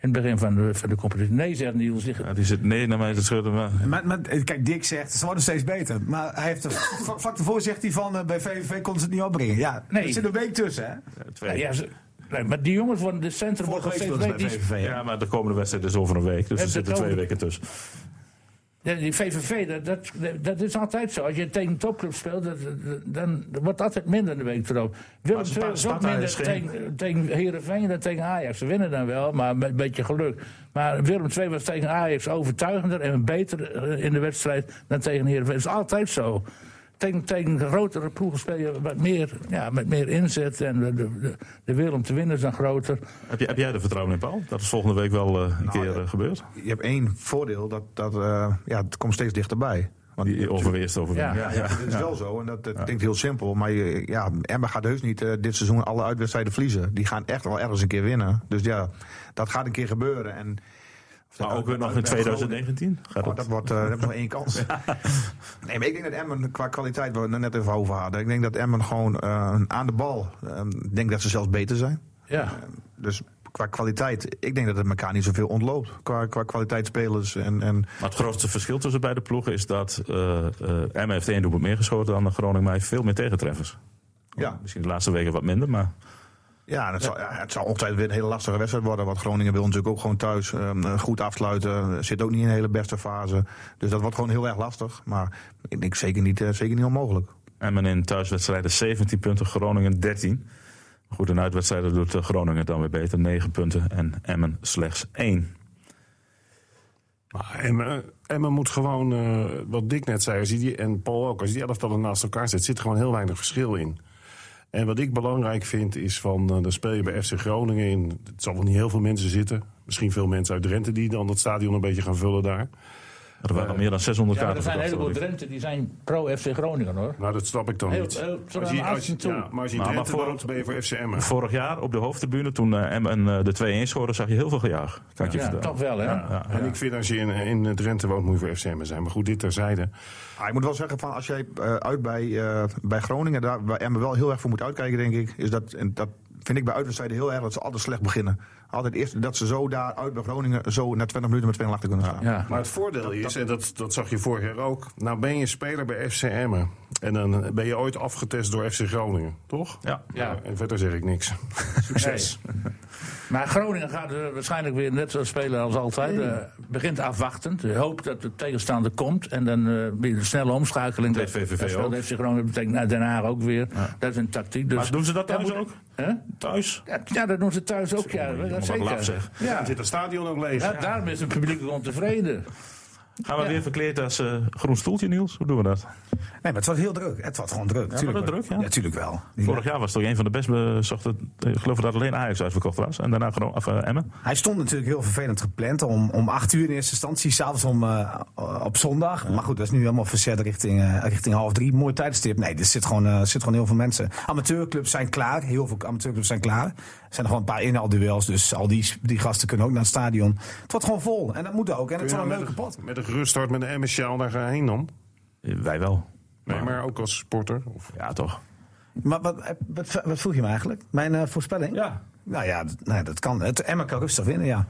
Speaker 5: in het begin van de, van de competitie. Nee, zegt Niels. die-
Speaker 2: Ja, Nou, die zit nee naar mij te schudden. Maar...
Speaker 3: Maar, maar, eh, kijk, Dick zegt, ze worden steeds beter. Maar hij heeft er, vlak vlak ervoor zegt hij van, eh, bij VVV kon ze het niet opbrengen. Ja,
Speaker 5: Nee.
Speaker 3: er zit een week tussen, hè?
Speaker 2: Twee.
Speaker 5: Ja, ze- nee, maar die jongens worden de centrum...
Speaker 3: Vorige
Speaker 5: wordt
Speaker 3: week
Speaker 5: steeds
Speaker 3: speelden ze
Speaker 5: beter.
Speaker 3: bij
Speaker 5: Die-
Speaker 3: VVV.
Speaker 2: Ja, maar de komende wedstrijd is over een week. Dus er
Speaker 5: de
Speaker 2: zitten twee
Speaker 5: komende-
Speaker 2: weken tussen.
Speaker 5: Ja, die VVV, dat, dat, dat is altijd zo. Als je tegen een topclub speelt, dat, dat- dan wordt het altijd minder de week erop. Willem
Speaker 2: Spa-
Speaker 5: II is ook
Speaker 2: Sparta
Speaker 5: minder
Speaker 2: is geen-
Speaker 5: tegen, tegen Heerenveen dan tegen Ajax. Ze winnen dan wel, maar met een beetje geluk. Maar Willem II was tegen Ajax overtuigender en beter eh, in de wedstrijd dan tegen Heerenveen. Dat is altijd zo. Tegen, tegen grotere ploegen speel je met meer, ja, met meer inzet en de, de, de- de wil om te winnen is dan groter.
Speaker 2: Heb, je, heb jij er vertrouwen in, Paul? Dat is volgende week wel eh, een
Speaker 5: Nou,
Speaker 2: keer eh, gebeurd.
Speaker 4: Je hebt één voordeel, dat, dat eh, ja, het komt steeds dichterbij. Want
Speaker 2: Die overweerst overwinning.
Speaker 5: Ja.
Speaker 2: Ja, ja.
Speaker 4: Het is wel zo, en dat, dat klinkt heel simpel. Maar je, ja, Emma gaat heus niet eh, dit seizoen alle uitwedstrijden verliezen. Die gaan echt wel ergens een keer winnen. Dus ja, dat gaat een keer gebeuren. En, of dat
Speaker 2: Maar ook
Speaker 4: nou-
Speaker 2: weer nog in
Speaker 4: bij Groningen-
Speaker 2: 2019? Gaat
Speaker 4: Oh, dat
Speaker 2: het?
Speaker 4: wordt eh, dat hebben we nog één kans. Nee, maar ik denk dat Emmen qua kwaliteit, waar we het net even over hadden. Ik denk dat Emmen gewoon eh, aan de bal, eh, ik denk dat ze zelfs beter zijn.
Speaker 5: Ja.
Speaker 4: Dus qua kwaliteit, ik denk dat het elkaar niet zoveel ontloopt. Qua, qua kwaliteit spelers en, en
Speaker 2: Maar het grootste verschil tussen beide ploegen is dat eh eh Emmen heeft één doelpunt meer geschoten dan Groningen, maar heeft veel meer tegentreffers.
Speaker 4: ja.
Speaker 2: Misschien de laatste weken wat minder, maar
Speaker 4: Ja, en het, Zal, ja, het zal ongetwijfeld weer een hele lastige wedstrijd worden. Want Groningen wil natuurlijk ook gewoon thuis ehm, goed afsluiten. Zit ook niet in een hele beste fase. Dus dat wordt gewoon heel erg lastig. Maar ik denk zeker niet, eh, zeker niet onmogelijk.
Speaker 2: Emmen in thuiswedstrijden 17 punten, Groningen 13. Maar Goed, in uitwedstrijden doet eh, Groningen het dan weer beter, 9 punten en Emmen slechts 1.
Speaker 6: Maar Emmen, Emmen moet gewoon, eh, wat Dick net zei, als je die, en Paul ook, als je die elftallen naast elkaar zet, zit er gewoon heel weinig verschil in. En wat ik belangrijk vind is van, eh, dan speel je bij FC Groningen in, het zal wel niet heel veel mensen zitten. Misschien veel mensen uit Drenthe die dan dat stadion een beetje gaan vullen daar.
Speaker 2: Er waren al meer dan 600
Speaker 5: Ja, maar er
Speaker 2: kaarten
Speaker 5: zijn een
Speaker 2: verkocht,
Speaker 5: heleboel
Speaker 2: hoor ik.
Speaker 5: Drenthe die zijn pro-FC Groningen hoor.
Speaker 6: Nou, dat snap ik dan
Speaker 5: Heel-
Speaker 6: niet.
Speaker 5: heel-
Speaker 6: Als
Speaker 5: tot aan
Speaker 6: je-
Speaker 5: de
Speaker 6: als je-
Speaker 5: afstand toe.
Speaker 6: ja, maar als je in
Speaker 2: Nou, Maar- maar
Speaker 6: Drenthe
Speaker 2: voor-
Speaker 6: woont, ben je voor FC Emmen.
Speaker 2: Vorig jaar op de hoofdtribune, toen eh, Emmen eh, de 2-1 scoorde, zag je heel veel gejaag. Kan ik je
Speaker 5: Ja,
Speaker 2: vertellen.
Speaker 5: toch wel hè.
Speaker 6: En ik vind als je in, in Drenthe woont, moet je voor FC Emmen zijn. Maar goed, dit terzijde.
Speaker 4: Ah, ik moet wel zeggen, van als jij eh, uit bij, eh, bij Groningen, daar waar Emmen wel heel erg voor moet uitkijken, denk ik, is dat, en dat vind ik bij uitwedstrijden heel erg dat ze altijd slecht beginnen. Altijd eerst dat ze zo daar uit bij Groningen, zo na 20 minuten met 2 achter kunnen staan.
Speaker 5: Ja.
Speaker 6: Maar het voordeel is, en dat, dat zag je vorig jaar ook. Nou ben je speler bij FC Emmen. En dan ben je ooit afgetest door FC Groningen, toch?
Speaker 2: Ja.
Speaker 5: Ja.
Speaker 6: En verder zeg ik niks. Succes.
Speaker 5: Maar Groningen gaat eh, waarschijnlijk weer net zo spelen als altijd. Eh, begint afwachtend. eh, Hoopt dat de tegenstander komt. En dan eh, weer een snelle omschakeling.
Speaker 2: Deed VVV
Speaker 5: dat speelt
Speaker 2: ook.
Speaker 5: FC Groningen. Dat betekent nou, Den Haag ook weer. Dat is een tactiek. Dus,
Speaker 2: Maar doen ze dat thuis ook?
Speaker 5: Hè?
Speaker 2: Thuis?
Speaker 5: Ja, ja, dat doen ze thuis ook. Ja,
Speaker 2: Jongen,
Speaker 5: dat
Speaker 2: wat
Speaker 5: zeker.
Speaker 2: laf, zeg.
Speaker 5: Ja.
Speaker 6: Dan zit het stadion ook leeg.
Speaker 5: Ja, daarom is het publiek ook ontevreden.
Speaker 2: Gaan we weer verkleed als eh, groen stoeltje, Niels? Hoe doen we dat?
Speaker 3: maar het was heel druk. Het was gewoon druk.
Speaker 2: was
Speaker 3: tuurlijk
Speaker 2: het
Speaker 3: wel.
Speaker 2: druk, ja?
Speaker 3: tuurlijk wel.
Speaker 2: Vorig jaar was het toch een van de best bezochte. Ik geloof dat alleen Ajax uitverkocht was. En daarna gewoon af eh, Emmen.
Speaker 3: Hij stond natuurlijk heel vervelend gepland om, om 8 uur in eerste instantie, s'avonds om, eh, op zondag. Maar goed, dat is nu helemaal verzet richting, eh, richting half drie. Mooi tijdstip. Nee, er zit gewoon, eh, zit gewoon heel veel mensen. Amateurclubs zijn klaar. Heel veel amateurclubs zijn klaar. Er zijn nog wel een paar inhaalduels, dus al die, die gasten kunnen ook naar het stadion. Het wordt gewoon vol en dat moet ook. En het
Speaker 6: Kun je
Speaker 3: is wel
Speaker 6: nou
Speaker 3: een
Speaker 6: met
Speaker 3: leuke pot.
Speaker 6: een- Met een geruststart met een Emmersjaal daar gaan heen dan?
Speaker 2: Eh, Wij wel.
Speaker 6: Nee, maar ook als sporter. Of...
Speaker 2: Ja, toch.
Speaker 3: Maar wat, eh, wat, wat vroeg je me eigenlijk? Mijn eh, voorspelling?
Speaker 2: Ja.
Speaker 3: Nou ja, d- nou ja, dat kan. Het Emma kan rustig winnen, ja.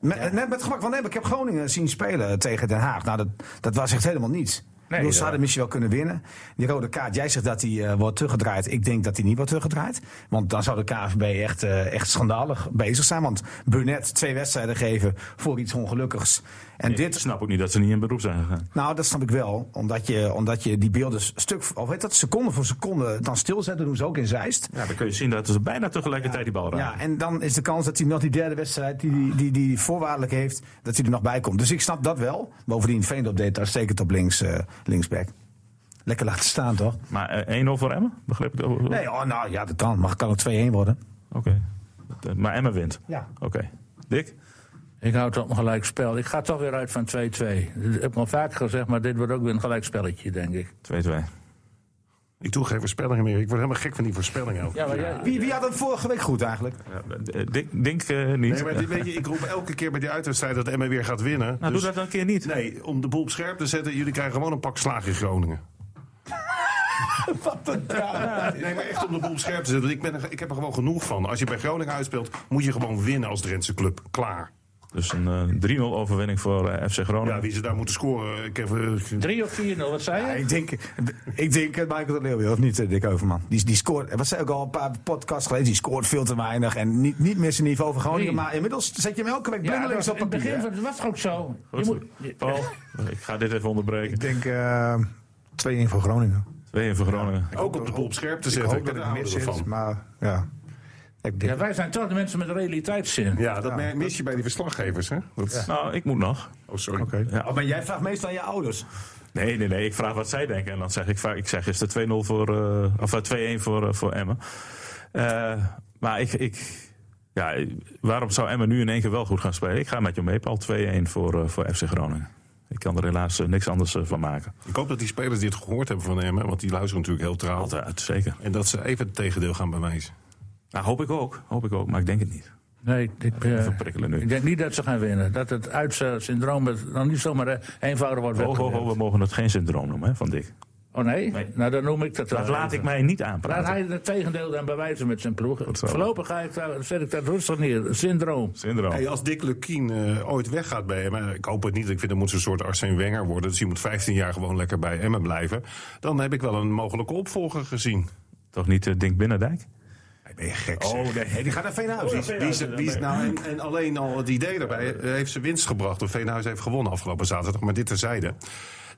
Speaker 3: Met, Net met gemak, want nee, ik heb Groningen zien spelen tegen Den Haag. Nou, dat, dat was echt helemaal niets.
Speaker 2: Nee, eh.
Speaker 3: Nee, ze
Speaker 2: ja.
Speaker 3: hadden misschien wel kunnen winnen. Die rode kaart, jij zegt dat die eh, wordt teruggedraaid. Ik denk dat die niet wordt teruggedraaid. Want dan zou de KVB echt, eh, echt schandalig bezig zijn. Want Burnett twee wedstrijden geven voor iets ongelukkigs. En
Speaker 2: Ik
Speaker 3: dit
Speaker 2: snap ook niet dat ze niet in beroep zijn gegaan.
Speaker 3: nou, dat snap ik wel. Omdat je, omdat je die beelden stuk, of weet dat, seconde voor seconde dan stilzet. Dat doen ze ook in Zeist.
Speaker 2: Ja, dan kun je zien dat ze bijna tegelijkertijd die bal raken.
Speaker 3: Ja, en dan is de kans dat hij nog die derde wedstrijd, die die, die, die voorwaardelijk heeft, dat hij er nog bij komt. Dus ik snap dat wel. Bovendien, Veendorp deed het uitstekend op links, eh, linksback. Lekker laten staan, toch?
Speaker 2: Maar eh, 1-0 voor Emmen? Begreep ik dat? Nee.
Speaker 3: Nee, oh, nou ja, dat kan. Maar het kan ook 2-1 worden.
Speaker 2: Oké. Eh, Maar Emmen wint.
Speaker 3: Ja.
Speaker 2: Oké. Dick?
Speaker 5: Ik houd op een gelijk spel. Ik ga toch weer uit van 2-2. Ik heb al vaak gezegd, maar dit wordt ook weer een gelijk spelletje, denk ik.
Speaker 2: 2-2.
Speaker 6: Ik doe geen voorspellingen meer. Ik word helemaal gek van die voorspellingen. elke keer.
Speaker 3: Wie, wie had hem vorige week goed eigenlijk?
Speaker 2: Ja, eh, Dick, Dink eh, niet.
Speaker 6: Nee, maar dit, weet je, ik roep elke keer bij die uitwedstrijd dat Emmen weer gaat winnen.
Speaker 2: nou,
Speaker 6: Dus-
Speaker 2: doe dat dan een keer niet.
Speaker 6: Nee, om de boel op scherp te zetten, jullie krijgen gewoon een pak slaag in Groningen. Wat een Nee, maar echt om de boel op scherp te zetten. Want ik, ben er, ik heb er gewoon genoeg van. Als je bij Groningen uitspeelt, moet je gewoon winnen als Drentse club. Klaar.
Speaker 2: Dus een eh, 3-0 overwinning voor eh, FC Groningen.
Speaker 6: Ja, wie ze daar moeten scoren. Ik heb, eh,
Speaker 5: 3 of 4-0, wat zei je?
Speaker 3: Ik denk, ik denk eh, Michael de Leeuw, weer, of niet, eh, Dick Overman? Die, die scoort, wat zei ik al een paar podcasts geleden, die scoort veel te weinig. En niet, niet meer zijn niveau van Groningen.
Speaker 5: Nee.
Speaker 3: Maar inmiddels zet je hem elke week
Speaker 5: Ja, dat was-
Speaker 3: blindelings op
Speaker 5: in het
Speaker 3: papier.
Speaker 5: begin
Speaker 3: hè?
Speaker 5: van, dat was toch ook zo. Je
Speaker 2: Goed.
Speaker 5: moet, je-
Speaker 2: Paul, ik ga dit even onderbreken.
Speaker 4: Ik denk eh 2-1 voor Groningen.
Speaker 2: 2-1 voor Groningen.
Speaker 6: ook om de boel op scherp te
Speaker 4: Ik
Speaker 6: zetten.
Speaker 4: hoop
Speaker 6: Ik
Speaker 4: dat
Speaker 6: ben
Speaker 4: ik mis
Speaker 6: er
Speaker 4: zit,
Speaker 6: van.
Speaker 4: maar ja. Ik denk,
Speaker 5: ja, wij zijn toch de mensen met realiteitszin.
Speaker 6: Ja, dat mer- mis je bij die verslaggevers, hè? Dat,
Speaker 2: Nou, ik moet nog.
Speaker 6: Oh, sorry.
Speaker 3: Oh, maar jij vraagt meestal aan je ouders.
Speaker 2: Nee, nee, nee. Ik vraag wat zij denken. En dan zeg ik vaak, ik zeg is het 2-0 voor, eh, of eh, 2-1 voor, eh, voor Emmen. Eh, maar ik, ik, ja, waarom zou Emmen nu in één keer wel goed gaan spelen? Ik ga met je mee, Paul. 2-1 voor, eh, voor FC Groningen. Ik kan er helaas eh, niks anders eh, van maken.
Speaker 6: Ik hoop dat die spelers dit gehoord hebben van Emmen, want die luisteren natuurlijk heel trouw.
Speaker 2: Altijd, eh, zeker.
Speaker 6: En dat ze even het tegendeel gaan bewijzen.
Speaker 2: Nou, hoop ik ook. Hoop ik ook, maar ik denk het niet.
Speaker 5: Nee, ik, eh,
Speaker 2: Even prikkelen nu.
Speaker 5: ik denk niet dat ze gaan winnen. Dat het uitsyndroom het dan niet zomaar eh, eenvoudig wordt
Speaker 2: Oh, oh,
Speaker 5: weggewerkt.
Speaker 2: oh,
Speaker 5: Oh,
Speaker 2: we mogen het geen syndroom noemen hè, van Dick.
Speaker 5: nee?
Speaker 2: Nee.
Speaker 5: Nou, dan noem ik dat wel
Speaker 2: Dat laat
Speaker 5: even.
Speaker 2: ik mij niet
Speaker 5: Laat
Speaker 2: aanpraten.
Speaker 5: hij het tegendeel dan bewijzen met zijn ploeg.
Speaker 2: zo.
Speaker 5: Voorlopig ga ik, daar- zet ik dat rustig neer. Syndroom.
Speaker 3: Oh.
Speaker 2: Syndroom.
Speaker 6: Hey, als Dick Lukien eh, ooit weggaat bij Emmen, ik hoop het niet, ik vind dat moet zo'n soort Arsene Wenger worden, dus die moet 15 jaar gewoon lekker bij Emmen blijven, dan heb ik wel een mogelijke opvolger gezien.
Speaker 2: Toch niet eh, Dink Binnendijk?
Speaker 6: Ben je gek
Speaker 2: Oh, nee.
Speaker 3: Die gaat naar Veenhuis.
Speaker 6: Die, die is- die is- nou, en, en alleen al het idee daarbij eh, heeft ze winst gebracht. Of Veenhuis heeft gewonnen afgelopen zaterdag, maar dit terzijde.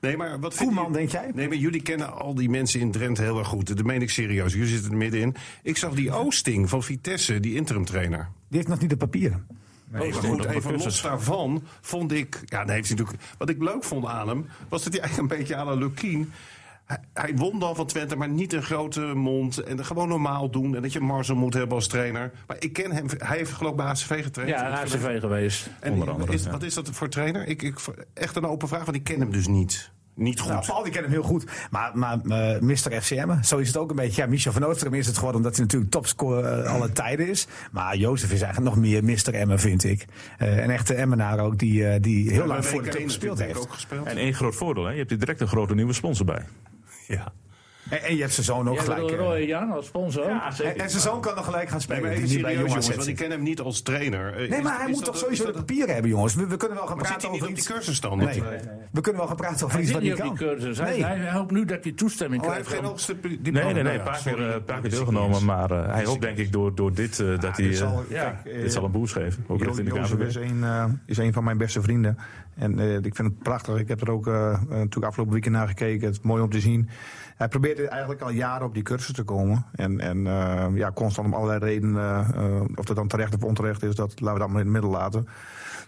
Speaker 6: Nee, maar wat vind
Speaker 3: Koeman,
Speaker 6: je-
Speaker 3: denk jij?
Speaker 6: Nee, maar jullie kennen al die mensen in Drenthe heel erg goed. Dat meen ik serieus. Jullie zitten er middenin. Ik zag die Oosting van Vitesse, die interimtrainer.
Speaker 3: Die heeft nog niet de papieren.
Speaker 6: Nee, maar Oh, goed, even los daarvan vond ik... Ja, nee, heeft hij natuurlijk, wat ik leuk vond aan hem, was dat hij eigenlijk een beetje à la Lukien... Hij, hij won dan van Twente, maar niet een grote mond. En gewoon normaal doen. En dat je Marcel moet hebben als trainer. Maar ik ken hem. Hij heeft geloof ik bij HCV getraind.
Speaker 5: Ja, ACV geweest.
Speaker 6: En
Speaker 2: onder andere,
Speaker 6: is,
Speaker 2: ja.
Speaker 6: Wat is dat voor trainer? Ik, ik, echt een open vraag, want ik ken hem dus niet. Niet goed.
Speaker 3: Nou, Paul, die kent hem heel goed. Maar, maar eh, Mr. FCM, zo is het ook een beetje. Ja, Michel van Oostrum is het geworden omdat hij natuurlijk topscorer eh, alle tijden is. Maar Jozef is eigenlijk nog meer Mr. Emmen, vind ik. Eh, een echte Emmenaar ook, die, eh, die heel lang voor de top gespeeld heeft.
Speaker 6: Ook gespeeld.
Speaker 2: En één groot voordeel, hè? je hebt hier direct een grote nieuwe sponsor bij.
Speaker 6: ja.
Speaker 3: En, en je hebt zijn zoon ook
Speaker 5: Jij
Speaker 3: gelijk.
Speaker 5: bedoelt
Speaker 3: eh.
Speaker 5: Roy Jan als sponsor?
Speaker 3: en, en zijn zoon kan nog gelijk gaan
Speaker 6: Nee,
Speaker 3: spelen.
Speaker 6: maar
Speaker 3: die
Speaker 6: even
Speaker 3: niet bij
Speaker 6: serieus,
Speaker 3: jongens
Speaker 6: jongens,
Speaker 3: zit.
Speaker 6: want ik ken hem niet als trainer. Eh,
Speaker 3: Nee,
Speaker 6: is-
Speaker 3: maar hij
Speaker 6: is
Speaker 3: moet
Speaker 6: dat-
Speaker 3: toch
Speaker 6: is
Speaker 3: sowieso
Speaker 6: dat-
Speaker 3: de papieren hebben, jongens. We, we kunnen wel gaan
Speaker 6: Maar zit
Speaker 3: praten
Speaker 6: hij niet
Speaker 3: over
Speaker 6: op die
Speaker 3: iets.
Speaker 6: cursus dan?
Speaker 3: Nee. We kunnen wel gaan praten over
Speaker 5: Hij
Speaker 3: iets
Speaker 5: zit
Speaker 3: wat
Speaker 5: niet
Speaker 3: niet
Speaker 5: op die
Speaker 3: kan.
Speaker 5: cursus. Hij,
Speaker 3: Nee.
Speaker 5: hij hoopt nu dat hij toestemming
Speaker 6: Oh, hij heeft
Speaker 5: krijgt.
Speaker 6: geen
Speaker 5: om-
Speaker 6: hoogste pri- diploma.
Speaker 2: Nee, nee, nee, een
Speaker 6: Ja,
Speaker 2: paar
Speaker 6: sorry.
Speaker 2: keer, eh, een paar keer
Speaker 6: Dat is
Speaker 2: deelgenomen.
Speaker 6: niet
Speaker 2: Maar eh, hij hoopt denk ik door, door dit eh, dat hij...
Speaker 4: dit zal,
Speaker 2: eh,
Speaker 5: ja,
Speaker 4: kijk, eh,
Speaker 2: dit zal een boost geven. Ook
Speaker 4: Jo-
Speaker 2: richting de
Speaker 4: Jozef
Speaker 2: KVB.
Speaker 4: is een, eh, is een van mijn beste vrienden. En eh, ik vind het prachtig. Ik heb er ook eh, eh, natuurlijk afgelopen weekend naar gekeken. Het is mooi om te zien. Hij probeert eigenlijk al jaren op die cursus te komen. En, en eh, ja, constant om allerlei redenen, eh, eh, of dat dan terecht of onterecht is, dat laten we dat maar in het midden laten.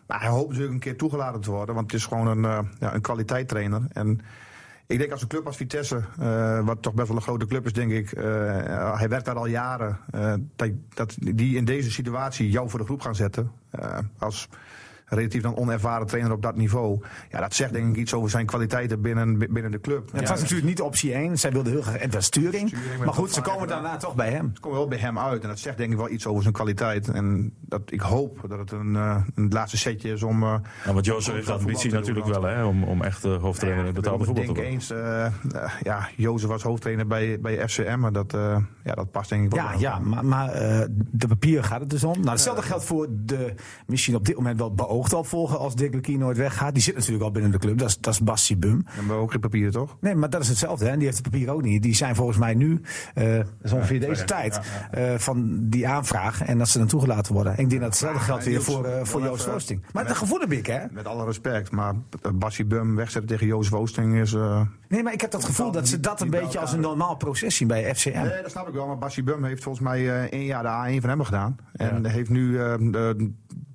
Speaker 4: Maar hij hoopt natuurlijk een keer toegelaten te worden, want het is gewoon een, eh ja, een kwaliteittrainer. En ik denk als een club als Vitesse, eh, wat toch best wel een grote club is, denk ik. eh, hij werkt daar al jaren. eh, dat, dat die in deze situatie jou voor de groep gaan zetten. eh, als relatief dan onervaren trainer op dat niveau. Ja, dat zegt denk ik iets over zijn kwaliteiten binnen, binnen de club.
Speaker 3: Het was natuurlijk niet optie 1. Zij wilden heel graag. Het was Sturing.
Speaker 4: Sturing,
Speaker 3: maar
Speaker 4: maar
Speaker 3: goed,
Speaker 4: dat
Speaker 3: ze komen
Speaker 4: vaker dan.
Speaker 3: daarna toch bij hem.
Speaker 4: Het komt wel bij hem uit en dat zegt denk ik wel iets over zijn kwaliteit. En dat, ik hoop dat het een, eh, een laatste setje is om... eh,
Speaker 2: Ja, want Jozef heeft de ambitie natuurlijk wel, hè, om, om echt eh, hoofdtrainer in het betaalde
Speaker 4: ik
Speaker 2: voetbal te
Speaker 4: denk
Speaker 2: worden.
Speaker 4: eens, eh, eh, ja, Jozef was hoofdtrainer bij, bij FCM, maar dat, eh, ja, dat past denk ik wel.
Speaker 3: Ja,
Speaker 4: bij
Speaker 3: ja
Speaker 4: hem.
Speaker 3: maar, maar eh, de papier gaat het dus om. Nou, hetzelfde geldt voor de misschien op dit moment wel beoogde opvolger als Dick Lukien nooit weggaat. Die zit natuurlijk al binnen de club. Dat is, dat is Basti Bum.
Speaker 4: We hebben ook geen papieren, toch?
Speaker 3: Nee, maar dat is hetzelfde. Hè? En die heeft het papier ook niet. Die zijn volgens mij nu, eh, dat is ongeveer deze tijd, eh, van die aanvraag. En dat ze dan toegelaten worden. En ik denk dat hetzelfde geldt weer
Speaker 4: Niels,
Speaker 3: voor, eh, voor
Speaker 4: wel
Speaker 3: Joost
Speaker 4: even-
Speaker 3: Roosting. Maar de gevoelde bik, hè?
Speaker 4: Met alle respect, maar Bassi Bum wegzetten tegen Joost Woosting is... eh,
Speaker 3: Nee, maar ik heb dat gevoel dat ze dat een beetje als een normaal proces zien bij FCM.
Speaker 4: Nee, dat snap ik wel. Maar Bassi Bum heeft volgens mij eh, één jaar de A1 van hem gedaan. En heeft nu eh de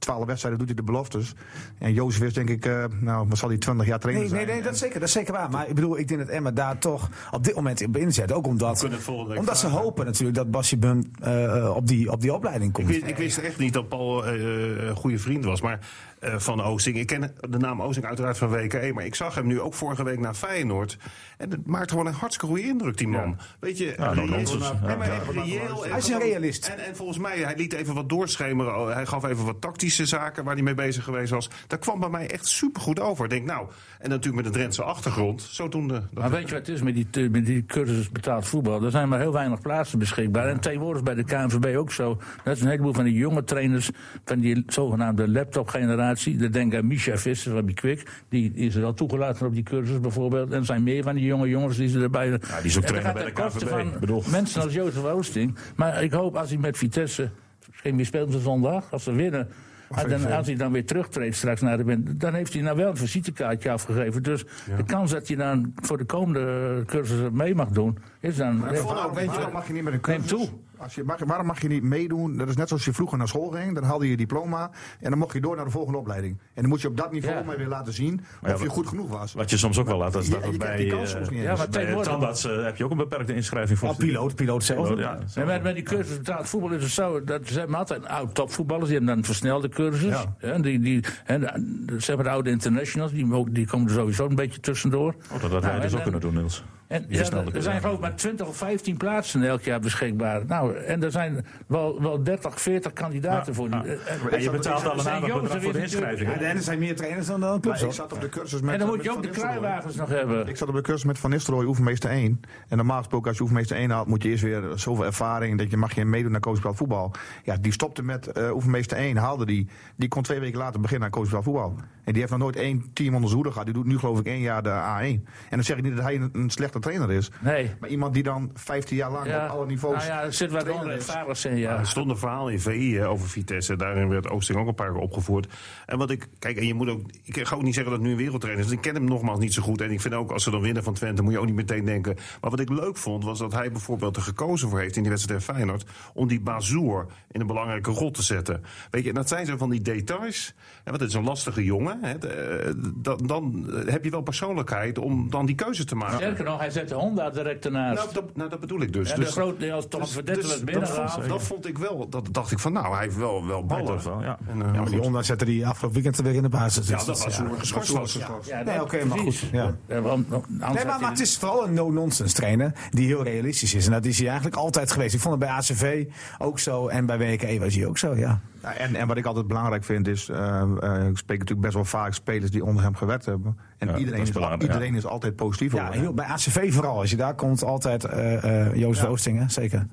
Speaker 4: twaalf wedstrijden doet hij de beloftes. En Jozef is denk ik, eh, nou, wat zal hij, 20 jaar trainer
Speaker 3: Nee, nee,
Speaker 4: zijn?
Speaker 3: nee, dat is zeker, dat is zeker waar. Maar ik bedoel, ik denk dat Emma daar toch op dit moment op inzet. Ook omdat,
Speaker 6: kunnen het volgende week
Speaker 3: omdat ze
Speaker 6: vragen.
Speaker 3: hopen natuurlijk dat Basje Bum eh, eh, op, die, op die opleiding
Speaker 6: Ik
Speaker 3: komt.
Speaker 6: wist, ik wist echt niet dat Paul eh, eh, een goede vriend was maar, eh, van Oosting. Ik ken de naam Oosting uiteraard van WKE, maar ik zag hem nu ook vorige week naar Feyenoord. En het maakt gewoon een hartstikke goede indruk, die man. Weet je, reëel-
Speaker 2: nonsens. Ja.
Speaker 6: Nee, maar echt reëel en
Speaker 3: Hij is een
Speaker 6: gewoon-
Speaker 3: realist.
Speaker 6: En, en volgens mij, hij liet even wat doorschemeren. Oh, Hij gaf even wat tactische zaken waar hij mee bezig geweest was. Dat kwam bij mij echt supergoed over. Ik denk, nou, en natuurlijk met een Drentse achtergrond. Zodoende. Dat
Speaker 5: Maar weet je wat het is met die, met die cursus betaald voetbal? Er zijn maar heel weinig plaatsen beschikbaar. En tegenwoordig bij de KNVB ook zo. Dat is een heleboel van die jonge trainers van die zogenaamde laptopgeneratie. Dan denk aan Misha Visser van die Kwik. Die is er al toegelaten op die cursus bijvoorbeeld. En er zijn meer van die jonge jongens die ze erbij... Ja,
Speaker 2: die is ook trainer bij de KNVB. Ik bedoel.
Speaker 5: Mensen als Jozef Oosting. Maar ik hoop als hij met Vitesse... Misschien wie speelt ze zondag? Als ze winnen... En dan, als hij dan weer terugtreedt straks naar de wind, dan heeft hij nou wel een visitekaartje afgegeven. Dus de kans dat hij dan voor de komende eh, cursussen mee mag doen, is dan.
Speaker 4: Waarom, waarom mag je niet met een
Speaker 5: Neem
Speaker 4: cursus?
Speaker 5: toe.
Speaker 4: Als je, mag, waarom mag je niet meedoen? Dat is net zoals je vroeger naar school ging. Dan haalde je je diploma en dan mocht je door naar de volgende opleiding. En dan moet je op dat niveau
Speaker 5: Ja.
Speaker 4: maar weer laten zien of
Speaker 2: ja,
Speaker 4: je
Speaker 2: wat-
Speaker 4: goed genoeg was.
Speaker 2: Wat je soms ook wel laat, dat is
Speaker 4: Ja,
Speaker 2: dat
Speaker 4: je
Speaker 2: het
Speaker 4: krijgt
Speaker 2: bij,
Speaker 4: die kans soms
Speaker 2: eh,
Speaker 4: niet
Speaker 5: Ja,
Speaker 4: eens.
Speaker 5: maar
Speaker 2: bij
Speaker 5: tegenwoordig.
Speaker 2: tandarts eh, heb je ook een beperkte inschrijving voor.
Speaker 3: Al piloot, piloot zelf.
Speaker 2: Ja,
Speaker 5: En met, met die cursus betaald voetbal is het zo, dat ze hebben altijd oud topvoetballers, die hebben dan een versnelde cursus.
Speaker 4: Ja.
Speaker 5: Hè, die, die, hè, de- de- zeg maar de oude internationals, die, ook- die komen er sowieso een beetje tussendoor.
Speaker 2: Oh, dat hadden wij
Speaker 5: Nou,
Speaker 2: dus
Speaker 5: en-
Speaker 2: ook kunnen doen, Niels.
Speaker 5: En,
Speaker 2: Die
Speaker 5: ja,
Speaker 2: versnelde
Speaker 5: er
Speaker 2: cursus.
Speaker 5: zijn geloof ik maar 20 of 15 plaatsen elk jaar beschikbaar. Nou, en er zijn wel, wel 30, 40 kandidaten voor die. eh, eh,
Speaker 2: En je betaalt al een
Speaker 5: zijn
Speaker 2: aardig
Speaker 5: Jozef
Speaker 2: bedrag voor de
Speaker 5: is natuurlijk-
Speaker 2: inschrijving. hè?
Speaker 3: En er zijn meer trainers dan, dan clubs.
Speaker 4: Maar ik
Speaker 3: hoor.
Speaker 4: zat op de cursus met,
Speaker 5: En dan moet
Speaker 4: met
Speaker 5: je ook
Speaker 4: Van
Speaker 5: de
Speaker 4: Nistelrooy.
Speaker 5: kruiwagens nog hebben.
Speaker 4: Ik zat op een cursus met Van Nistelrooy, oefenmeester 1. En normaal gesproken, als je oefenmeester 1 haalt, moet je eerst weer zoveel ervaring dat je mag je meedoen naar coachbal voetbal. Ja, die stopte met eh, oefenmeester 1, haalde die. Die kon twee weken later beginnen aan coachbal voetbal. En die heeft nog nooit één team onder zijn hoede gehad. Die doet nu geloof ik één jaar de A1. En dan zeg ik niet dat hij een, een slechte trainer is.
Speaker 5: Nee.
Speaker 4: Maar iemand die dan 15 jaar lang op alle niveaus.
Speaker 5: Nou ja, er zit wat
Speaker 4: trainer is.
Speaker 5: onrechtvaardigs in, ja.
Speaker 6: Er stond een verhaal in VI hè, over Vitesse. Daarin werd Oosting ook een paar keer opgevoerd. En wat ik. Kijk, en je moet ook. Ik ga ook niet zeggen dat het nu een wereldtrainer is. want Ik ken hem nogmaals niet zo goed. En ik vind ook als ze dan winnen van Twente. moet je ook niet meteen denken. Maar wat ik leuk vond. was dat hij bijvoorbeeld er gekozen voor heeft. in die wedstrijd tegen Feyenoord. om die Bazoer in een belangrijke rol te zetten. Weet je, en dat zijn zo van die details. En want het is een lastige jongen. Hè, de- eh, dan, dan eh, heb je wel persoonlijkheid om dan die keuze te maken.
Speaker 5: Sterker nog, hij zet de Honda direct ernaast.
Speaker 6: Nou, dat, nou, dat bedoel ik dus.
Speaker 5: en de
Speaker 6: dus
Speaker 5: grote als toch
Speaker 6: dus-
Speaker 5: verdette
Speaker 6: dus
Speaker 5: was
Speaker 6: dat, vond,
Speaker 5: binnengehaald.
Speaker 6: dat vond ik wel. Dat dacht ik van, nou, hij heeft wel, wel ballen.
Speaker 2: toch wel, ja.
Speaker 6: En, eh, maar
Speaker 3: Ja, maar die
Speaker 6: goed.
Speaker 3: Honda zetten die afgelopen weekend er weer in de basis.
Speaker 6: ja,
Speaker 3: Dus
Speaker 6: dat was
Speaker 3: is-
Speaker 6: hoe
Speaker 3: ja.
Speaker 6: er geschorst was.
Speaker 5: Ja,
Speaker 3: Nee,
Speaker 5: dat-
Speaker 3: oké, maar
Speaker 5: precies.
Speaker 3: goed, ja.
Speaker 5: Ja, want- want anders
Speaker 3: Nee,
Speaker 5: had
Speaker 3: maar,
Speaker 5: hij
Speaker 3: maar het is vooral een no-nonsense trainer die heel realistisch is. En dat is hij eigenlijk altijd geweest. Ik vond het bij ACV ook zo en bij WKE was hij ook zo, ja.
Speaker 4: Ja, en, en wat ik altijd belangrijk vind is, eh, eh, ik spreek natuurlijk best wel vaak spelers die onder hem gewerkt hebben. En
Speaker 2: Ja, dat
Speaker 4: iedereen,
Speaker 2: is
Speaker 4: is, al-
Speaker 2: belangrijk, ja.
Speaker 4: iedereen is altijd positief
Speaker 3: ja
Speaker 4: over
Speaker 3: heel, bij ACV vooral. Als je daar komt, altijd eh eh Joost Oosting, hè? zeker.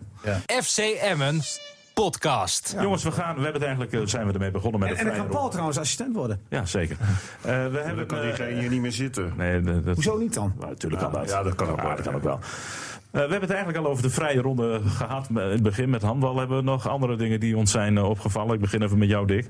Speaker 1: FC Emmen podcast.
Speaker 2: Jongens, we gaan, we hebben het eigenlijk, eh, zijn we ermee begonnen met
Speaker 3: En, en
Speaker 2: een
Speaker 3: dan
Speaker 2: vrije
Speaker 3: kan Paul
Speaker 2: rol.
Speaker 3: trouwens assistent worden.
Speaker 2: Ja, zeker. Eh, we
Speaker 6: Dan
Speaker 2: hebben...
Speaker 6: kan
Speaker 2: eh,
Speaker 6: diegene hier niet meer zitten.
Speaker 2: Nee, dat- dat,
Speaker 3: Hoezo niet dan?
Speaker 2: Maar natuurlijk kan dat.
Speaker 6: Ja, dat kan ook wel.
Speaker 2: dat kan ook wel. Eh, we hebben het eigenlijk al over de vrije ronde gehad. In het begin met handbal hebben we nog andere dingen die ons zijn eh, opgevallen. Ik begin even met jou, Dick.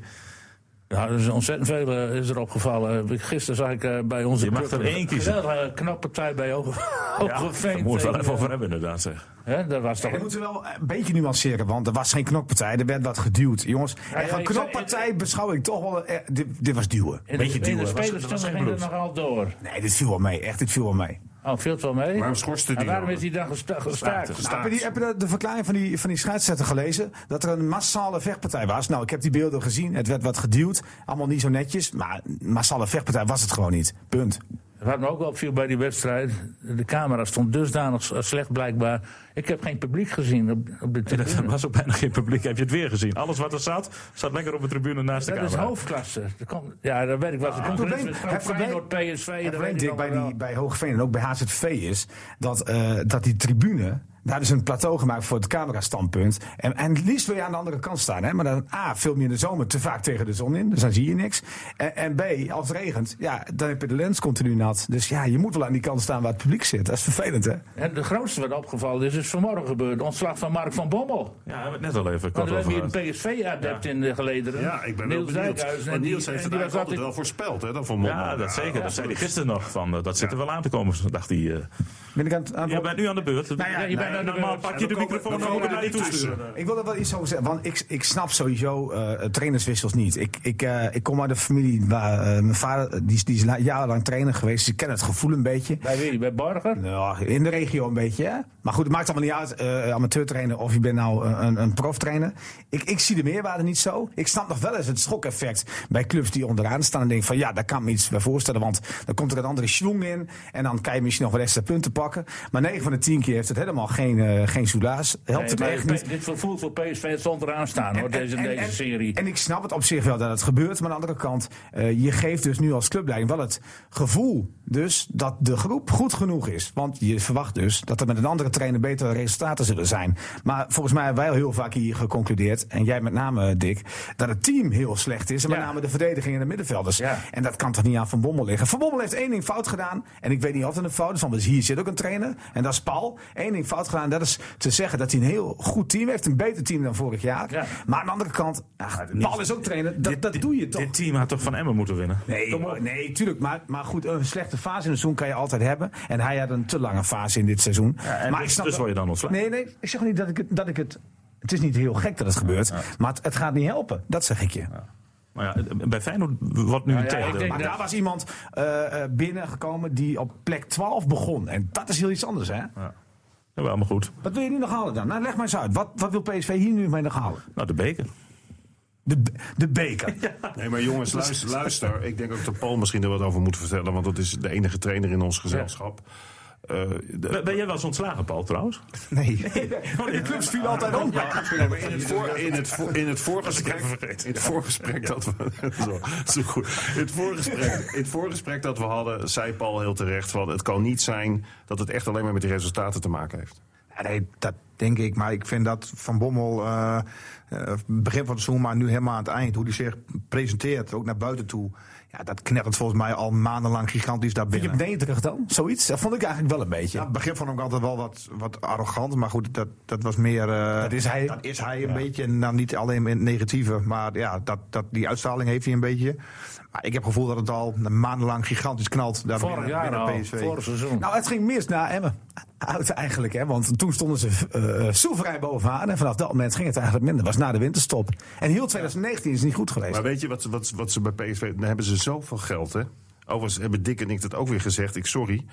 Speaker 5: Ja, Nou, er is ontzettend veel eh, is er opgevallen. Gisteren zag ik eh, bij onze
Speaker 2: Je mag
Speaker 5: club
Speaker 2: er één kiezen.
Speaker 5: een geweldige knappartij bij Hoge- Hogeveen.
Speaker 2: Daar moet het wel
Speaker 5: tegen,
Speaker 2: even over hebben, inderdaad. Zeg.
Speaker 5: eh, hè, dat was toch...
Speaker 3: We moeten wel een beetje nuanceren, want er was geen knokpartij. Er werd wat geduwd. Jongens, en
Speaker 5: ja,
Speaker 3: van
Speaker 5: ik
Speaker 3: knokpartij beschouw ik toch wel... eh, dit, dit was duwen.
Speaker 5: in
Speaker 2: beetje
Speaker 5: de, in de
Speaker 2: duwen, dat was- dat was
Speaker 5: spelers
Speaker 2: geen
Speaker 5: ging het
Speaker 2: bloed.
Speaker 5: nogal door.
Speaker 3: Nee, dit viel wel mee. Echt, dit viel wel mee.
Speaker 5: Oh, viel het wel mee?
Speaker 6: Waarom schorste
Speaker 5: en
Speaker 6: die
Speaker 5: waarom
Speaker 6: dan?
Speaker 5: is hij dan gesta- gestaakt?
Speaker 3: Heb je, die, heb je de, de verklaring van die, van die scheidsrechter gelezen? Dat er een massale vechtpartij was. Nou, ik heb die beelden gezien. Het werd wat geduwd. Allemaal niet zo netjes. Maar een massale vechtpartij was het gewoon niet. Punt.
Speaker 5: Nou, Wat me ook opviel bij die wedstrijd, de camera stond dusdanig s- slecht blijkbaar. Ik heb geen publiek gezien op, op de
Speaker 2: En er
Speaker 5: tribune.
Speaker 2: was ook bijna geen publiek. Heb je het weer gezien? Alles wat er zat, zat lekker op de tribune naast de
Speaker 5: Dat is
Speaker 2: camera.
Speaker 5: hoofdklasse. Er komt- ja, dat weet ik wel. Er komt
Speaker 3: probleem-
Speaker 5: er iets
Speaker 3: het
Speaker 5: met
Speaker 3: probleem-
Speaker 5: Feyenoord, PSV, dat
Speaker 3: Het probleem,
Speaker 5: weet ik
Speaker 3: Dick, bij,
Speaker 5: allemaal
Speaker 3: die, bij Hoogveen en ook bij HZV is dat, eh, dat die tribune. Daar is een plateau gemaakt voor het camerastandpunt. En, en het liefst wil je aan de andere kant staan. Hè? Maar dan A, film je in de zomer te vaak tegen de zon in. Dus dan zie je niks. En, en B, als het regent, ja, dan heb je de lens continu nat. Dus ja, je moet wel aan die kant staan waar het publiek zit. Dat is vervelend, hè?
Speaker 5: En de grootste wat opgevallen is, is vanmorgen gebeurd. Ontslag van Mark van Bommel.
Speaker 2: Ja, daar hebben we het net al even
Speaker 5: Want
Speaker 2: kort
Speaker 5: we
Speaker 2: over
Speaker 5: hebben hier
Speaker 2: gehad.
Speaker 5: een PSV-adept in de gelederen.
Speaker 6: Ja, ik ben
Speaker 5: Niels
Speaker 6: wel benieuwd.
Speaker 5: Dijkhuizen.
Speaker 6: Want
Speaker 5: En
Speaker 6: Niels
Speaker 5: die-
Speaker 6: heeft
Speaker 5: en
Speaker 6: het
Speaker 5: die
Speaker 6: eigenlijk
Speaker 5: was
Speaker 6: altijd wel voorspeld, hè, dat van Mommel.
Speaker 2: Ja, dat zeker. Dat zei hij
Speaker 6: absoluut.
Speaker 2: gisteren nog. Van, eh, dat zit er wel aan te komen, dacht hij. eh.
Speaker 3: Ben ik aan het, aan het-
Speaker 2: Jij bent nu aan de beurt.
Speaker 5: ja, je bent aan de
Speaker 2: normaal
Speaker 5: beurt.
Speaker 2: pak je de microfoon en moet je niet toesturen.
Speaker 3: Ik wil er wel iets over zeggen, want ik, ik snap sowieso eh, trainerswissels niet. Ik, ik, eh, ik kom uit een familie waar eh, mijn vader, eh, die, is- die is la- jarenlang trainer geweest, dus ik ken het gevoel een beetje.
Speaker 5: Bij wie? Bij Borger?
Speaker 3: Nou, in de regio een beetje, hè? Maar goed, het maakt allemaal niet uit, eh amateur trainer of je bent nou een, een- een proftrainer. Ik, ik zie de meerwaarde niet zo. Ik snap nog wel eens het schokeffect bij clubs die onderaan staan en denk van ja, daar kan ik me iets bij voorstellen, want dan komt er een andere schwung in en dan kan je misschien nog wat extra punten pakken. Maar 9 van de 10 keer heeft het helemaal geen, eh, geen soelaas. Helpt
Speaker 5: Nee,
Speaker 3: het
Speaker 5: maar
Speaker 3: echt
Speaker 5: P-
Speaker 3: niet.
Speaker 5: Dit voelt voor PSV het stond eraan staan, hoor, deze,
Speaker 3: En- en-
Speaker 5: deze
Speaker 3: en-
Speaker 5: serie.
Speaker 3: En ik snap het op zich wel dat het gebeurt. Maar aan de andere kant, eh, je geeft dus nu als clubleiding wel het gevoel dus dat de groep goed genoeg is. Want je verwacht dus dat er met een andere trainer betere resultaten zullen zijn. Maar volgens mij hebben wij al heel vaak hier geconcludeerd, en jij met name Dick, dat het team heel slecht is. En met
Speaker 5: Ja.
Speaker 3: name de verdediging en de middenvelders.
Speaker 5: Ja.
Speaker 3: En dat kan toch niet aan Van Bommel liggen. Van Bommel heeft één ding fout gedaan. En ik weet niet of het een fout is, want dus hier zit ook een trainer. En dat is Paul. Eén ding fout gedaan, dat is te zeggen dat hij een heel goed team heeft. Een beter team dan vorig jaar.
Speaker 5: Ja.
Speaker 3: Maar aan de andere kant, ach, Paul is ook trainer. Dat, dat doe je toch?
Speaker 2: Dit team had toch van Emmen moeten winnen?
Speaker 3: Nee, nee, tuurlijk. Maar, maar goed, een slechte fase in het seizoen kan je altijd hebben. En hij had een te lange fase in dit seizoen.
Speaker 2: en
Speaker 3: maar
Speaker 2: dus- dus
Speaker 3: wel-
Speaker 2: word je dan ontslagen.
Speaker 3: Nee, nee, ik zeg niet dat ik het... Dat ik het het is niet heel gek dat het gebeurt, maar het, het gaat niet helpen. Dat zeg ik je.
Speaker 2: Maar Nou ja, bij Feyenoord wordt nu een
Speaker 5: ja, ik
Speaker 2: tegendeel.
Speaker 5: denk
Speaker 3: Maar daar was iemand eh, eh, binnengekomen die op plek 12 begon. En dat is heel iets anders, hè?
Speaker 2: Jawel, maar goed.
Speaker 3: Wat wil je nu nog halen dan? Nou, leg maar eens uit. Wat, wat wil PSV hier nu mee nog halen?
Speaker 2: Nou, de beker.
Speaker 3: De, de beker.
Speaker 6: Nee, maar jongens, luister, luister. Ik denk ook dat Paul misschien er wat over moet vertellen. Want dat is de enige trainer in ons gezelschap. Eh, de-
Speaker 2: Ben ben jij wel eens ontslagen, Paul, trouwens?
Speaker 3: Nee. De clubs vielen altijd om.
Speaker 6: in het, voor, in het, voor, in het voorgesprek. In het voorgesprek dat we. Zo, zo goed. In het, voorgesprek, in het voorgesprek dat we hadden, zei Paul heel terecht. Van, het kan niet zijn dat het echt alleen maar met die resultaten te maken heeft.
Speaker 4: Ja, nee, dat denk ik. Maar ik vind dat Van Bommel, eh, eh, begin van het seizoen, maar nu helemaal aan het eind, hoe hij zich presenteert, ook naar buiten toe. Ja, dat knettert volgens mij al maandenlang gigantisch daar
Speaker 3: Vind je
Speaker 4: binnen.
Speaker 3: hem nederig dan? Zoiets? Dat vond ik eigenlijk wel een beetje.
Speaker 4: Ja, het begin vond ik hem altijd wel wat, wat arrogant, maar goed, dat, dat was meer... eh,
Speaker 3: Dat is hij.
Speaker 4: Dat is hij een beetje, en dan niet alleen in het negatieve, maar ja, dat, dat, die uitstraling heeft hij een beetje. Maar ik heb het gevoel dat het al maandenlang gigantisch knalt daar
Speaker 5: Vorig
Speaker 4: binnen,
Speaker 5: jaar
Speaker 4: binnen
Speaker 5: al,
Speaker 4: PSV.
Speaker 5: vorig seizoen.
Speaker 3: Nou, het ging mis na Emmen. Uit eigenlijk, hè? want toen stonden ze eh, eh, soeverein bovenaan. En vanaf dat moment ging het eigenlijk minder. was na de winterstop. En heel 2019 is niet goed geweest.
Speaker 6: Maar weet je wat, ze- wat, ze- wat ze bij PSV... Dan hebben ze zoveel geld, hè. Overigens hebben Dick en ik dat ook weer gezegd. Ik sorry.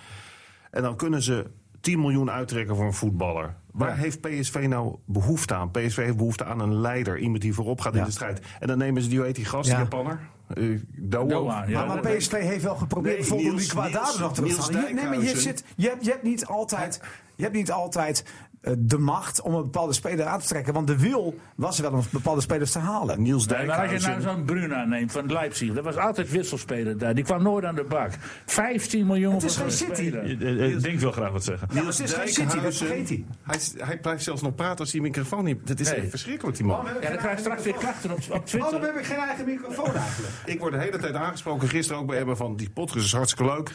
Speaker 6: En dan kunnen ze 10 miljoen uittrekken voor een voetballer. Waar heeft PSV nou behoefte aan? PSV heeft behoefte aan een leider. Iemand die voorop gaat in de strijd. En dan nemen ze die, hoe heet die gast,
Speaker 3: Ja.
Speaker 6: die Japanner? Eh Doan.
Speaker 5: Doan, ja.
Speaker 3: Maar, maar PSV heeft wel geprobeerd
Speaker 6: Nee,
Speaker 3: bijvoorbeeld om die
Speaker 6: Niels-
Speaker 3: kwaadaden
Speaker 6: Niels-
Speaker 3: nog terug te
Speaker 6: Niels
Speaker 3: halen. Je- Nee, maar je,
Speaker 6: Dijkhuizen.
Speaker 3: zit, je, hebt, je hebt niet altijd, je hebt niet altijd eh, de macht om een bepaalde speler aan te trekken. Want de wil was er wel om bepaalde spelers te halen.
Speaker 6: Niels
Speaker 5: Nee, maar als je nou
Speaker 6: Dijkhuizen.
Speaker 5: zo'n Bruna neemt van Leipzig, dat was altijd wisselspeler daar. Die kwam nooit aan de bak. 15 miljoen
Speaker 3: Het is
Speaker 5: voor
Speaker 3: geen
Speaker 5: zo'n
Speaker 3: City.
Speaker 5: speler.
Speaker 2: Ik- ik- Ik denk wel graag wat zeggen.
Speaker 3: Ja, maar het is geen City, dat vergeet hij.
Speaker 6: hij, is- hij blijft zelfs nog praten als die microfoon niet... Dat is
Speaker 5: Nee.
Speaker 6: echt verschrikkelijk, die man.
Speaker 5: Ja, dan krijg je straks weer klachten op, op
Speaker 3: Waarom
Speaker 5: Twitter.
Speaker 3: heb ik geen eigen microfoon eigenlijk?
Speaker 6: Ik word de hele tijd aangesproken, gisteren ook bij Emma, van die podcast is hartstikke leuk.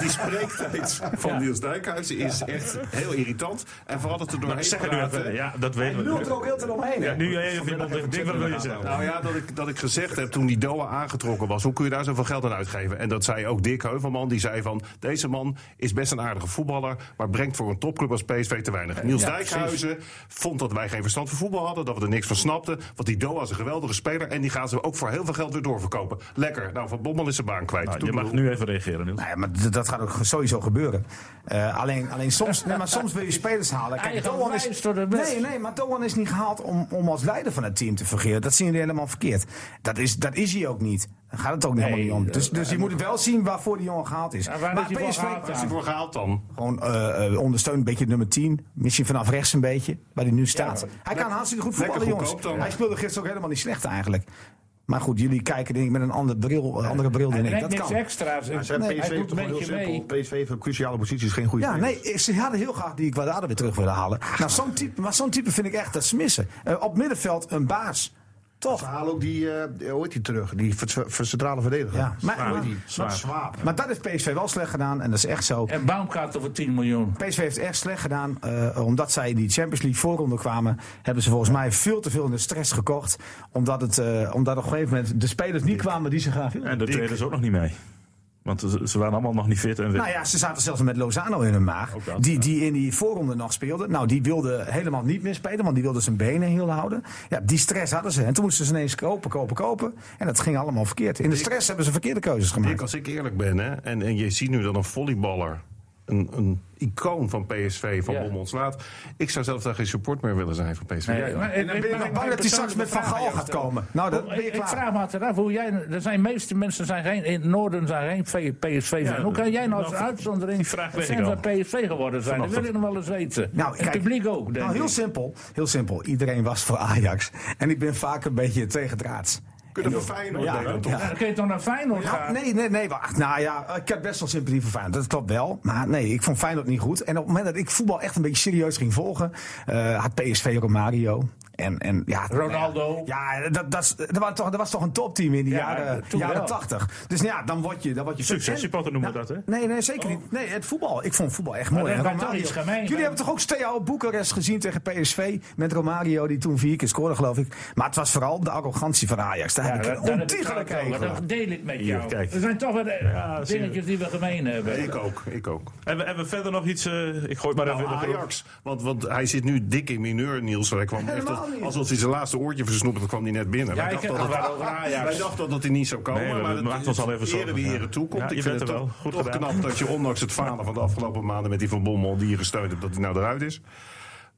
Speaker 6: Die spreektijd van Niels Dijkhuizen is echt heel irritant. En van altijd er doorheen
Speaker 2: Zeg het nu
Speaker 6: praten.
Speaker 2: even. Ja, dat weten
Speaker 3: Lult er
Speaker 2: we.
Speaker 3: ook heel te omheen.
Speaker 2: Ja, nu jij even op de ding wat wil je zeggen.
Speaker 6: Nou ja, dat ik, dat ik gezegd heb toen die Doha aangetrokken was. Hoe kun je daar zoveel geld aan uitgeven? En dat zei ook Dick Heuvelman. Die zei van, deze man is best een aardige voetballer... maar brengt voor een topclub als PSV te weinig. Niels Dijkhuizen vond dat wij geen verstand van voetbal hadden. Dat we er niks van snapten. Want die Doha is een geweldige speler. En die gaan ze ook voor heel veel geld weer doorverkopen. Lekker. Nou, Van Bommel is zijn baan kwijt.
Speaker 2: Nou,
Speaker 6: Toen
Speaker 2: je mag
Speaker 6: bedoel-
Speaker 2: nu even reageren, Niels.
Speaker 3: Nee, maar d- dat gaat ook sowieso gebeuren. Eh, alleen, alleen soms, nee, maar soms wil je spelers halen. Kijk,
Speaker 5: Eigen
Speaker 3: Doan
Speaker 5: wijs
Speaker 3: is,
Speaker 5: door de best.
Speaker 3: nee, nee, maar Doan is niet gehaald om, om als leider van het team te fungeren. Dat zien jullie helemaal verkeerd. Dat is, dat is hij ook niet. Daar gaat het ook helemaal niet
Speaker 5: eh,
Speaker 3: om. Dus, dus je moet wel zien waarvoor die jongen gehaald is.
Speaker 5: En waar is hij voor gehaald
Speaker 6: Is hij voor gehaald dan?
Speaker 3: gewoon eh, eh, ondersteund, een beetje nummer 10. Misschien vanaf rechts een beetje, waar hij nu staat. hij kan hartstikke goed voetballen,
Speaker 6: lekker
Speaker 3: jongens.
Speaker 6: goedkoop dan.
Speaker 3: Hij speelde gisteren ook helemaal niet slecht eigenlijk. Maar goed, jullie kijken denk ik met een andere bril, andere bril dan
Speaker 5: Hij
Speaker 3: ik.
Speaker 5: brengt
Speaker 3: Dat
Speaker 5: niks
Speaker 3: kan.
Speaker 5: extra's.
Speaker 4: Ze hebben
Speaker 5: hij
Speaker 4: PSV
Speaker 5: doet
Speaker 4: toch
Speaker 5: een
Speaker 4: gewoon heel
Speaker 5: beetje mee.
Speaker 4: simpel. PSV heeft op cruciale posities geen goede
Speaker 3: Ja,
Speaker 4: spelers.
Speaker 3: nee, ze hadden heel graag die Quadrado weer terug willen halen.
Speaker 6: Ah.
Speaker 3: Nou, zo'n type, maar zo'n type vind ik echt dat ze missen. Eh, op middenveld een baas.
Speaker 4: Ze
Speaker 3: Toch?
Speaker 4: halen ook die, eh hoe heet die terug? Die ver- ver- centrale verdediger.
Speaker 3: Ja, maar-
Speaker 4: Hoe heet die?
Speaker 3: maar-
Speaker 4: Swaap.
Speaker 3: Maar dat heeft PSV wel slecht gedaan en dat is echt zo.
Speaker 5: En Baumgart over 10 miljoen.
Speaker 3: PSV heeft echt slecht gedaan, eh, omdat zij in die Champions League voorronde kwamen. Hebben ze volgens mij veel te veel in de stress gekocht. Omdat, het, eh, omdat op een gegeven moment de spelers niet kwamen die ze graag wilden.
Speaker 2: En de tweede is ook nog niet mee. Want ze- ze waren allemaal nog niet fit en
Speaker 3: Nou
Speaker 2: weer.
Speaker 3: ja, ze zaten zelfs met Lozano in hun maag.
Speaker 2: Ook dat,
Speaker 3: Die,
Speaker 2: ja.
Speaker 3: die in die voorronde nog speelde. Nou, die wilde helemaal niet meer spelen, want die wilde zijn benen heel houden. Ja, die stress hadden ze. En toen moesten ze ineens kopen, kopen, kopen. En dat ging allemaal verkeerd. In de stress hebben ze verkeerde keuzes
Speaker 6: Dick,
Speaker 3: gemaakt.
Speaker 6: als ik eerlijk ben, hè, en, en je ziet nu dat een volleyballer, een, een icoon van PSV, van
Speaker 5: Ja.
Speaker 6: Bommel ontslaat. Ik zou zelf daar geen support meer willen zijn van PSV. Jij dan?
Speaker 3: En dan ben je nog bang dat hij straks met Van Gaal gaat komen. Nou, dat
Speaker 5: Hoe-
Speaker 3: ben je
Speaker 5: ik, ik
Speaker 3: klaar.
Speaker 5: vraag me altijd af hoe jij. Er zijn meeste mensen zijn geen, in het noorden zijn geen PSV.
Speaker 2: Ja,
Speaker 5: fan hoe kan jij nou als
Speaker 2: nou,
Speaker 5: uitzondering
Speaker 2: vraag
Speaker 5: fan
Speaker 2: weet ik
Speaker 5: van
Speaker 2: al.
Speaker 5: PSV geworden zijn? Dat wil ik nog wel eens weten.
Speaker 3: Nou,
Speaker 5: het
Speaker 3: kijk,
Speaker 5: publiek ook. Denk
Speaker 3: Nou, heel
Speaker 5: ik.
Speaker 3: simpel. Heel simpel. Iedereen was voor Ajax. En ik ben vaak een beetje tegendraads.
Speaker 6: Kunnen we Feyenoord
Speaker 3: Ja,
Speaker 6: delen, toch?
Speaker 3: ja.
Speaker 5: Ja, Dan kun je toch naar Feyenoord
Speaker 3: Ja,
Speaker 5: gaan?
Speaker 3: nee, nee, nee, wacht. Nou ja, ik heb best wel sympathie voor Feyenoord. Dat klopt wel. Maar nee, ik vond Feyenoord niet goed. En op het moment dat ik voetbal echt een beetje serieus ging volgen, eh, had PSV Romario. En, en ja,
Speaker 5: Ronaldo.
Speaker 3: Ja, dat, dat, is- dat, waren toch, dat was toch een topteam in de
Speaker 5: Ja,
Speaker 3: jaren,
Speaker 5: toen
Speaker 3: jaren
Speaker 5: wel.
Speaker 3: 80. Dus nou ja, dan word je. Dan word je
Speaker 2: Successupporter
Speaker 3: En- Nou,
Speaker 2: noemen we dat,
Speaker 3: Nee, nee, zeker niet. Nee, het voetbal. Ik vond voetbal echt mooi.
Speaker 5: dat
Speaker 3: En
Speaker 5: Oh. kan toch iets gemeen
Speaker 3: Jullie
Speaker 5: zijn?
Speaker 3: hebben toch ook Steaua Boekarest gezien tegen PSV met Romario, die toen vier keer scoorde, geloof ik. Maar het was vooral de arrogantie van Ajax. Daar heb ik
Speaker 5: dat- dat
Speaker 3: een
Speaker 5: heb ik
Speaker 3: ontiegelijke
Speaker 5: ook wel,
Speaker 3: hekel
Speaker 5: maar
Speaker 3: aan.
Speaker 5: Dat deel ik met
Speaker 2: Hier,
Speaker 5: jou.
Speaker 2: kijk.
Speaker 5: Er zijn toch wel eh,
Speaker 2: zie je.
Speaker 5: dingetjes die we gemeen hebben.
Speaker 6: Ik ook, ik ook.
Speaker 2: Hebben, hebben we verder nog iets? eh, ik gooi het maar
Speaker 6: Nou,
Speaker 2: even in de groep.
Speaker 6: Ajax, want, want hij zit nu dik in mineur, Niels. Hij kwam echt
Speaker 3: Helemaal
Speaker 6: als-
Speaker 3: niet.
Speaker 6: alsof hij zijn laatste oortje versnoept, dan kwam hij net binnen.
Speaker 5: Ja, ik
Speaker 6: wij, dachten
Speaker 5: heb
Speaker 6: dat,
Speaker 5: het wel over
Speaker 6: wij
Speaker 5: Ajax.
Speaker 6: dachten dat hij niet zou komen,
Speaker 2: Nee, we-
Speaker 6: maar
Speaker 2: we
Speaker 6: het
Speaker 2: maakten
Speaker 6: is
Speaker 2: ons al even zorgen,
Speaker 6: ere die
Speaker 2: ja.
Speaker 6: ere toekomt.
Speaker 2: Ja, je
Speaker 6: ik
Speaker 2: bent
Speaker 6: vind het
Speaker 2: er wel.
Speaker 6: toch-
Speaker 2: Goed
Speaker 6: toch
Speaker 2: gedaan.
Speaker 6: knap dat je ondanks het falen van de afgelopen maanden... met die Van Bommel die je gesteund hebt, dat hij nou eruit is.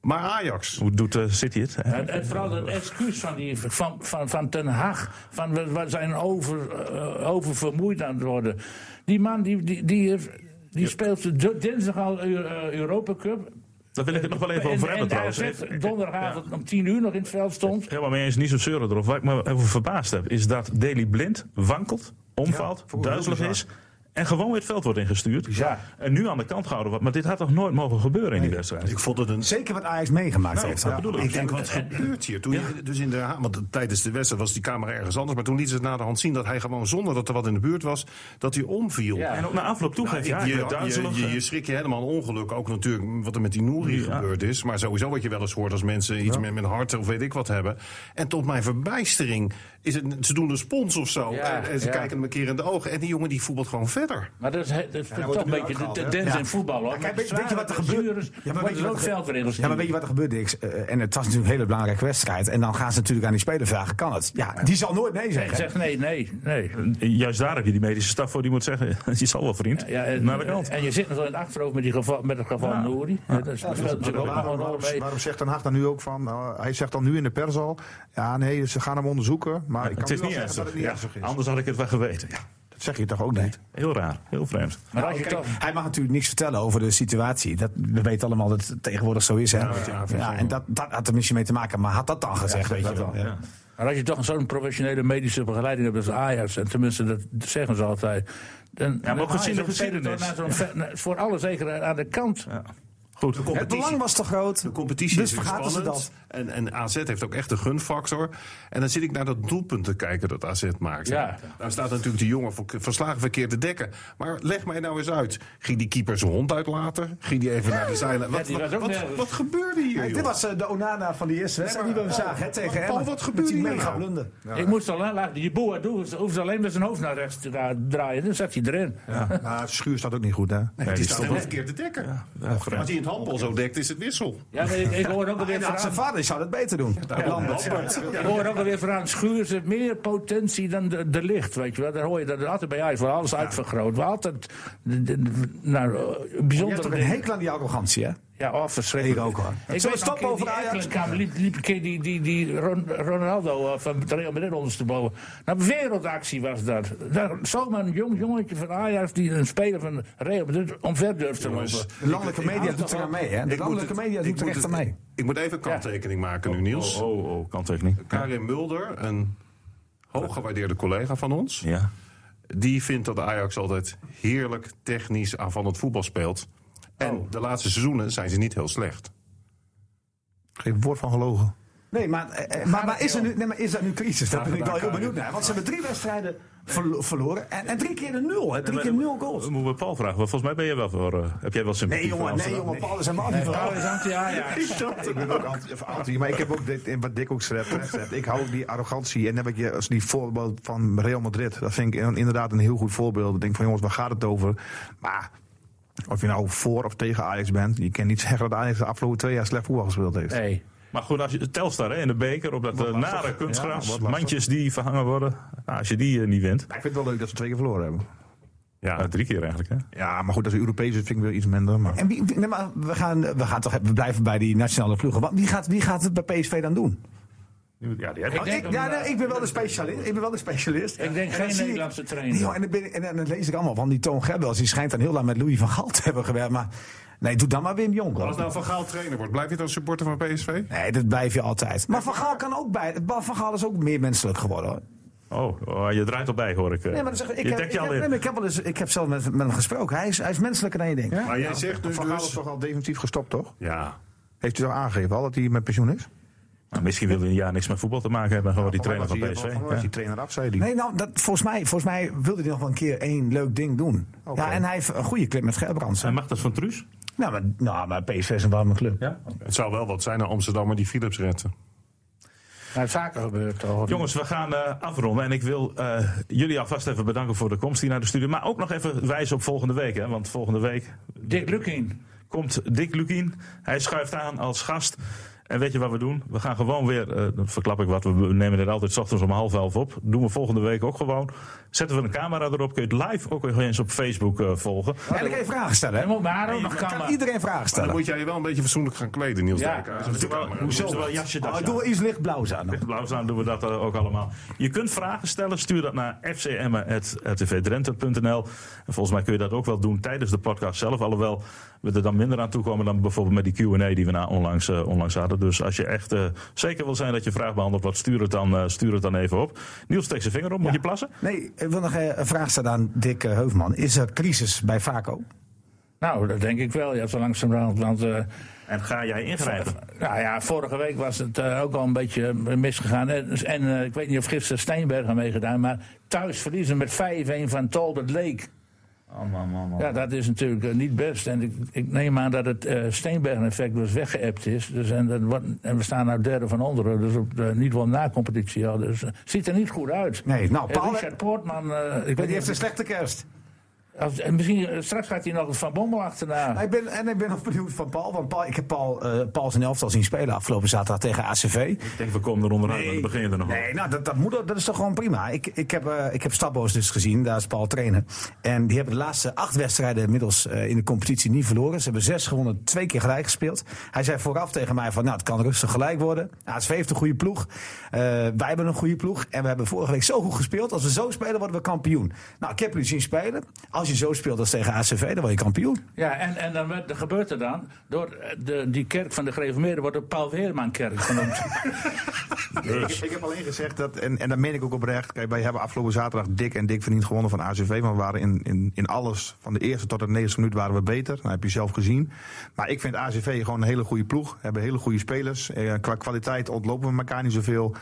Speaker 6: Maar Ajax,
Speaker 2: Hoe doet eh, City het?
Speaker 5: En, en vooral het excuus van, die, van, van, van Ten Haag. Van we, we zijn over, eh, oververmoeid aan het worden. Die man die, die, die, heeft- die speelt d- dinsdag al Eu- eh, Europa Cup.
Speaker 2: Daar wil ik het nog wel even
Speaker 5: En-
Speaker 2: over
Speaker 5: en
Speaker 2: hebben trouwens.
Speaker 5: AZ donderdagavond om tien uur nog in het veld stond.
Speaker 2: Helemaal mee eens, niet zo zeuren erop. Waar ik me over verbaasd heb, is dat Daily Blind wankelt, omvalt, duizelig is. En gewoon weer het veld wordt ingestuurd.
Speaker 5: Ja.
Speaker 2: En nu aan de kant gehouden wordt. Maar dit had toch nooit mogen gebeuren in die wedstrijd?
Speaker 6: ik vond het een
Speaker 3: Zeker wat Ajax meegemaakt heeft.
Speaker 2: Dat bedoel ik.
Speaker 6: Ik denk, wat
Speaker 5: eh,
Speaker 6: gebeurt hier? Toen je, dus in de, want tijdens de wedstrijd was die camera ergens anders. Maar toen liet ze het na de hand zien dat hij gewoon zonder dat er wat in de buurt was, dat hij omviel.
Speaker 5: Ja.
Speaker 2: En ook na afloop
Speaker 6: Nou,
Speaker 2: toegeeft,
Speaker 6: ik-
Speaker 2: ja,
Speaker 6: je,
Speaker 2: ik ben
Speaker 6: je,
Speaker 2: duizelig.
Speaker 6: je, je schrik je helemaal een ongeluk. Ook natuurlijk wat er met die Nouri gebeurd is. Maar sowieso wat je wel eens hoort als mensen iets met, met hart of weet ik wat hebben. En tot mijn verbijstering is het, ze doen een spons of zo.
Speaker 5: Ja,
Speaker 6: en, en ze
Speaker 5: ja.
Speaker 6: kijken hem een keer in de ogen. En die jongen die voetbalt gewoon verder.
Speaker 5: Maar dat is, he- dat is toch een beetje de tendens in voetbal. Hoor.
Speaker 3: Kijk,
Speaker 5: Met
Speaker 3: weet, weet je wat er
Speaker 5: zware
Speaker 3: gebeurt?
Speaker 5: blessures
Speaker 3: Ja, maar
Speaker 5: wordt
Speaker 3: weet je
Speaker 5: er
Speaker 3: wat
Speaker 5: ook
Speaker 3: er
Speaker 5: veld weer
Speaker 3: gebeurt?
Speaker 5: ingestuurd.
Speaker 3: Ja, maar weet je wat er gebeurt, Dix? Eh, en het was natuurlijk een hele belangrijke wedstrijd. En dan gaan ze natuurlijk aan die speler vragen: kan het? Ja, die zal nooit nee
Speaker 5: Ik
Speaker 3: zeggen.
Speaker 5: zeg nee, nee, nee.
Speaker 2: Juist daar heb je die medische staf voor die moet zeggen, je zal wel vriend,
Speaker 5: Ja, eh, en,
Speaker 2: naar de kant.
Speaker 5: en je zit nog wel in het achterhoofd met, die geval, met het geval Nouri. Dat is- dat speelt natuurlijk ook allemaal
Speaker 4: Waarom,
Speaker 5: een rol
Speaker 4: waarom,
Speaker 5: mee.
Speaker 4: waarom zegt Den Haag dan nu ook van... eh, hij zegt dan nu in de pers al... Ja, nee, ze gaan hem onderzoeken. Maar ik kan
Speaker 2: Het is
Speaker 4: nu
Speaker 2: niet
Speaker 4: wel
Speaker 2: ernstig.
Speaker 4: zeggen dat het niet
Speaker 2: Ja,
Speaker 4: ernstig is.
Speaker 2: Anders had ik het wel geweten. Ja,
Speaker 4: Dat zeg je toch ook niet?
Speaker 2: heel raar, heel vreemd.
Speaker 5: Maar als je
Speaker 3: Kijk,
Speaker 5: toch...
Speaker 3: hij mag natuurlijk niks vertellen over de situatie. Dat, we weten allemaal dat het tegenwoordig zo is. Hè? Ja, en dat, dat had er misschien mee te maken. Maar had dat dan gezegd? weet je wel. Ja.
Speaker 5: Maar als je toch zo'n professionele medische begeleiding hebt als Ajax, en tenminste dat zeggen ze altijd. Dan, ja,
Speaker 2: maar ook gezien de geschiedenis.
Speaker 5: Voor alle zeker aan de kant.
Speaker 2: Goed.
Speaker 6: De competitie-
Speaker 3: Het belang was te groot.
Speaker 6: De competitie
Speaker 3: dus
Speaker 6: is weer
Speaker 3: vergaten
Speaker 6: spannend.
Speaker 3: ze dat.
Speaker 6: En, en AZ heeft ook echt een gunfactor. En dan zit ik naar dat doelpunt te kijken dat AZ maakt.
Speaker 5: Ja.
Speaker 6: Daar staat natuurlijk de jongen voor verslagen verkeerd te dekken. Maar leg mij nou eens uit. Ging die keeper zijn hond uitlaten? Ging die even naar de zeilen? Wat,
Speaker 5: die
Speaker 6: wat,
Speaker 5: was ook
Speaker 6: wat,
Speaker 5: nergens.
Speaker 6: wat gebeurde hier,
Speaker 3: Hey,
Speaker 6: joh?
Speaker 3: dit was eh, de Onana van die eerste wedstrijd die we hem zagen hè, tegen
Speaker 6: Paul,
Speaker 3: Emmen.
Speaker 6: wat gebeurt
Speaker 3: Met die
Speaker 6: hier
Speaker 3: mega
Speaker 6: nou?
Speaker 3: blunder.
Speaker 5: Ik moest al aan laten. Die Boadu hoeft- hoeft alleen met zijn hoofd naar rechts te dra- draaien. Dan zat hij erin.
Speaker 4: Ja, maar Schuur staat ook niet goed, hè?
Speaker 6: Nee, die staat helemaal verkeerd te dekken. Als hij het handbal zo dekt, is het wissel.
Speaker 5: Ja, maar ik, ik hoor ook alweer
Speaker 3: Ja, zijn
Speaker 5: verhaal.
Speaker 3: vader zou dat beter doen. Lambert.
Speaker 5: Ik hoor ook alweer verhaal. Schuurs heeft meer potentie dan de, de licht. Weet je wel. Daar hoor je dat altijd bij Ajax. Wordt alles uitvergroot. We altijd de- de- de- nou, eh,
Speaker 3: Je hebt toch
Speaker 5: bijzondere
Speaker 3: een
Speaker 5: dingen.
Speaker 3: hekel aan die arrogantie, hè?
Speaker 5: Ja, oh, verschrikkelijk.
Speaker 3: Ik ook, hoor.
Speaker 5: Ik
Speaker 3: Zullen
Speaker 5: weet
Speaker 3: we
Speaker 5: nog een
Speaker 3: stappen
Speaker 5: keer
Speaker 3: over
Speaker 5: die
Speaker 3: Ajax?
Speaker 5: Eikelenkamer liep, liep een keer die, die, die Ron- Ronaldo eh, van het Real Madrid ondersteboven. Nou, wereldactie was dat. Daar, zomaar een jong jongetje van Ajax die een speler van Real Madrid omver durft te
Speaker 6: Jongens,
Speaker 5: lopen.
Speaker 3: De landelijke media doet er aan mee, hè? De
Speaker 6: Ik moet
Speaker 3: landelijke
Speaker 6: het-
Speaker 3: media
Speaker 6: ik
Speaker 3: doet er
Speaker 6: moet
Speaker 3: echt aan
Speaker 6: het-
Speaker 3: mee.
Speaker 6: Ik moet even een kanttekening maken nu, Niels.
Speaker 2: Oh, oh, oh kanttekening.
Speaker 6: Karin Mulder, een hooggewaardeerde collega van ons...
Speaker 2: Ja.
Speaker 6: die vindt dat Ajax altijd heerlijk technisch aanvallend voetbal speelt. En
Speaker 4: Oh.
Speaker 6: de laatste seizoenen zijn ze niet heel slecht.
Speaker 4: Geen woord van gelogen.
Speaker 3: Nee, maar, eh, eh, maar, maar, is, er nu, nee, maar is dat nu crisis? Daar ben ik wel heel benieuwd naar. Want ze hebben drie wedstrijden verlo- verloren en, en drie keer een nul. Hè? Drie keer nul goals.
Speaker 2: Eh, Moeten we Paul vragen? Want volgens mij ben je wel voor. eh, heb jij wel sympathie
Speaker 3: Nee,
Speaker 2: voor
Speaker 3: jongen, nee,
Speaker 2: Amsterdam?
Speaker 3: jongen, Paul is helemaal niet van.
Speaker 5: Paul is anti-Ajax.
Speaker 4: Ik ben ook anti- of anti, maar ik heb ook dit, wat Dick ook terecht zegt. Ik hou ook die arrogantie. En dan heb ik je als die voorbeeld van Real Madrid. Dat vind ik een- inderdaad een heel goed voorbeeld. Ik denk van jongens, waar gaat het over? Maar of je nou voor of tegen Ajax bent, je kan niet zeggen dat Ajax de afgelopen twee jaar slecht voetbal gespeeld heeft.
Speaker 5: Nee.
Speaker 2: Maar goed, als je Telstar hè, in de beker op dat eh, nare kunstgras,
Speaker 4: Ja, wat lastig.
Speaker 2: mandjes die verhangen worden. Nou, als je die eh, niet wint,
Speaker 4: Maar ik vind het wel leuk dat ze twee keer verloren hebben.
Speaker 2: ja. drie keer eigenlijk. Hè?
Speaker 4: Ja, maar goed, als Europees vind ik wel iets minder. Maar...
Speaker 3: En wie, wie- nee, maar we, gaan, we, gaan toch, we blijven bij die nationale ploegen. Want Wie gaat, wie gaat het bij PSV dan doen? Oh,
Speaker 2: Ja, die heb
Speaker 5: Ik
Speaker 3: Ik,
Speaker 5: denk,
Speaker 3: ja,
Speaker 5: dat-
Speaker 3: nee, ik ben wel de specialist. Ik ben wel de specialist.
Speaker 5: Ik denk
Speaker 3: En dan
Speaker 5: geen
Speaker 3: zie ik-
Speaker 5: Nederlandse trainer.
Speaker 3: Nee, joh, en, dan ben ik- en, en dan lees ik allemaal van die Toon Gebbels. Die schijnt dan heel lang met Louis van Gaal te hebben gewerkt. Maar nee, doe dan maar Wim Jonk. hoor.
Speaker 6: Als nou Van Gaal trainer wordt, blijf je dan supporter van PSV?
Speaker 3: Nee, dat blijf je altijd. Maar Van Gaal kan ook bij. Van Gaal is ook meer menselijk geworden. Hoor.
Speaker 2: Oh, oh, je draait al bij, hoor ik. eh.
Speaker 3: Nee, maar dan zeg ik, ik,
Speaker 2: je
Speaker 3: heb,
Speaker 2: dekt
Speaker 3: ik,
Speaker 2: je
Speaker 3: heb,
Speaker 2: al
Speaker 3: nee,
Speaker 2: in.
Speaker 3: maar ik heb wel eens, ik heb zelf met, met hem gesproken. Hij is, hij is menselijker dan je denkt.
Speaker 6: Maar jij zegt dus...
Speaker 4: Van Gaal is
Speaker 6: dus
Speaker 4: toch al definitief gestopt, toch?
Speaker 6: ja,
Speaker 4: Heeft u al aangegeven al dat hij met pensioen is?
Speaker 2: Nou, misschien wil hij een jaar niks met voetbal te maken hebben. Gewoon die trainer van
Speaker 4: Volgens mij was hij- volgens mij
Speaker 2: PSV.
Speaker 4: was die trainer af, zei hij.
Speaker 3: Nee, nou, dat, volgens, mij, volgens mij wilde hij nog wel een keer één leuk ding doen.
Speaker 4: Oké.
Speaker 3: Ja, en hij heeft een goede clip met Gerbrands.
Speaker 2: Hij mag dat van Truus.
Speaker 3: Nou, maar, nou, maar PSV is een warme club.
Speaker 6: het zou wel wat zijn naar Amsterdammer die Philips redden.
Speaker 5: Nou, zaken gebeurt toch.
Speaker 2: Jongens, we gaan eh, afronden. En ik wil eh, jullie alvast even bedanken voor de komst hier naar de studio. Maar ook nog even wijzen op volgende week. Hè? Want volgende week
Speaker 5: Dick Lukin.
Speaker 2: komt Dick Lukien. Hij schuift aan als gast. En weet je wat we doen? We gaan gewoon weer, eh, dan verklap ik wat, we nemen dit altijd 's ochtends om half elf op. Doen we volgende week ook gewoon. Zetten we een camera erop, kun je het live ook nog eens op Facebook eh, volgen.
Speaker 3: En ik even vragen stellen.
Speaker 5: Hij
Speaker 3: Hè?
Speaker 5: moet mijn haar ook nog
Speaker 3: Kan
Speaker 5: kammen.
Speaker 3: iedereen vragen
Speaker 6: Dan
Speaker 3: stellen?
Speaker 6: moet jij je wel een beetje fatsoenlijk gaan kleden, Niels
Speaker 5: Ja.
Speaker 6: Dijkhuizen.
Speaker 2: Doe wel- doe wel jasje,
Speaker 3: Oh,
Speaker 2: dasje
Speaker 3: doe wel iets lichtblauws aan.
Speaker 2: aan. Blauw staan doen we dat eh, ook allemaal. Je kunt vragen stellen, stuur dat naar fcm.rtvdrenthe.nl. En volgens mij kun je dat ook wel doen tijdens de podcast zelf. Alhoewel we er dan minder aan toe komen dan bijvoorbeeld met die Q&A die we na onlangs, eh, onlangs hadden. Dus als je echt eh, zeker wil zijn dat je vraag behandeld wordt, stuur het dan, eh, stuur het dan even op. Niels, steek zijn vinger op. Moet je plassen?
Speaker 3: Nee, ik wil nog eh, een vraag stellen aan Dick eh, Heufman. Is er crisis bij Vaco?
Speaker 5: Nou, dat denk ik wel. Ja, zo langzamerhand. Want eh,
Speaker 2: En ga jij ingrijpen?
Speaker 5: Nou ja, vorige week was het eh, ook al een beetje eh, misgegaan. En, en eh, ik weet niet of gisteren Steenberg aan meegedaan, maar thuis verliezen met 5-1 van Talbot Lake.
Speaker 2: Oh,
Speaker 5: Ja, dat is natuurlijk eh, niet best. En ik, ik neem aan dat het eh Steenbergen-effect dus weggeëpt is. Dus en, dat wordt- en we staan nou derde van onderen, dus op de, niet wel na-competitie al. Dus eh, ziet er niet goed uit.
Speaker 3: Nee, nou,
Speaker 5: Eh,
Speaker 3: Paul-
Speaker 5: Richard Poortman, eh, ik
Speaker 3: Die
Speaker 5: weet niet
Speaker 3: heeft een
Speaker 5: of-
Speaker 3: slechte kerst.
Speaker 5: als- en misschien, eh, straks gaat hij nog Van Bommel achterna.
Speaker 3: Ik ben, en ik ben nog benieuwd van Paul. Want Paul, ik heb Paul, eh, Paul zijn elftal zien spelen afgelopen zaterdag tegen ACV.
Speaker 2: Ik denk, we komen er onderuit, maar dan begin je er nog wel.
Speaker 3: Nee, nou, dat, dat, moet, ook- dat is toch gewoon prima. Ik, ik heb, eh ik heb Stabbo's dus gezien, daar is Paul trainen. En die hebben de laatste acht wedstrijden inmiddels eh, in de competitie niet verloren. Ze hebben zes gewonnen, twee keer gelijk gespeeld. Hij zei vooraf tegen mij van, nou, het kan rustig gelijk worden. ASV heeft een goede ploeg. Eh, wij hebben een goede ploeg. En we hebben vorige week zo goed gespeeld. Als we zo spelen, worden we kampioen. Nou, ik heb jullie zien spelen. Als je
Speaker 4: je zo speelt als tegen ACV, dan word je kampioen.
Speaker 5: Ja, en, en dan werd, dat gebeurt er dan. Door eh, de, die kerk van de gereformeerden wordt de Paul Weerman-kerk genoemd.
Speaker 3: Ik, ik heb alleen gezegd dat, en, en dat meen ik ook oprecht. Kijk, wij hebben afgelopen zaterdag dik en dik verdiend gewonnen van ACV. Want we waren in, in, in alles, van de eerste tot de negende minuut, waren we beter. Dat heb je zelf gezien. Maar ik vind ACV gewoon een hele goede ploeg. We hebben hele goede spelers. Eh, qua kwaliteit ontlopen we elkaar niet zoveel.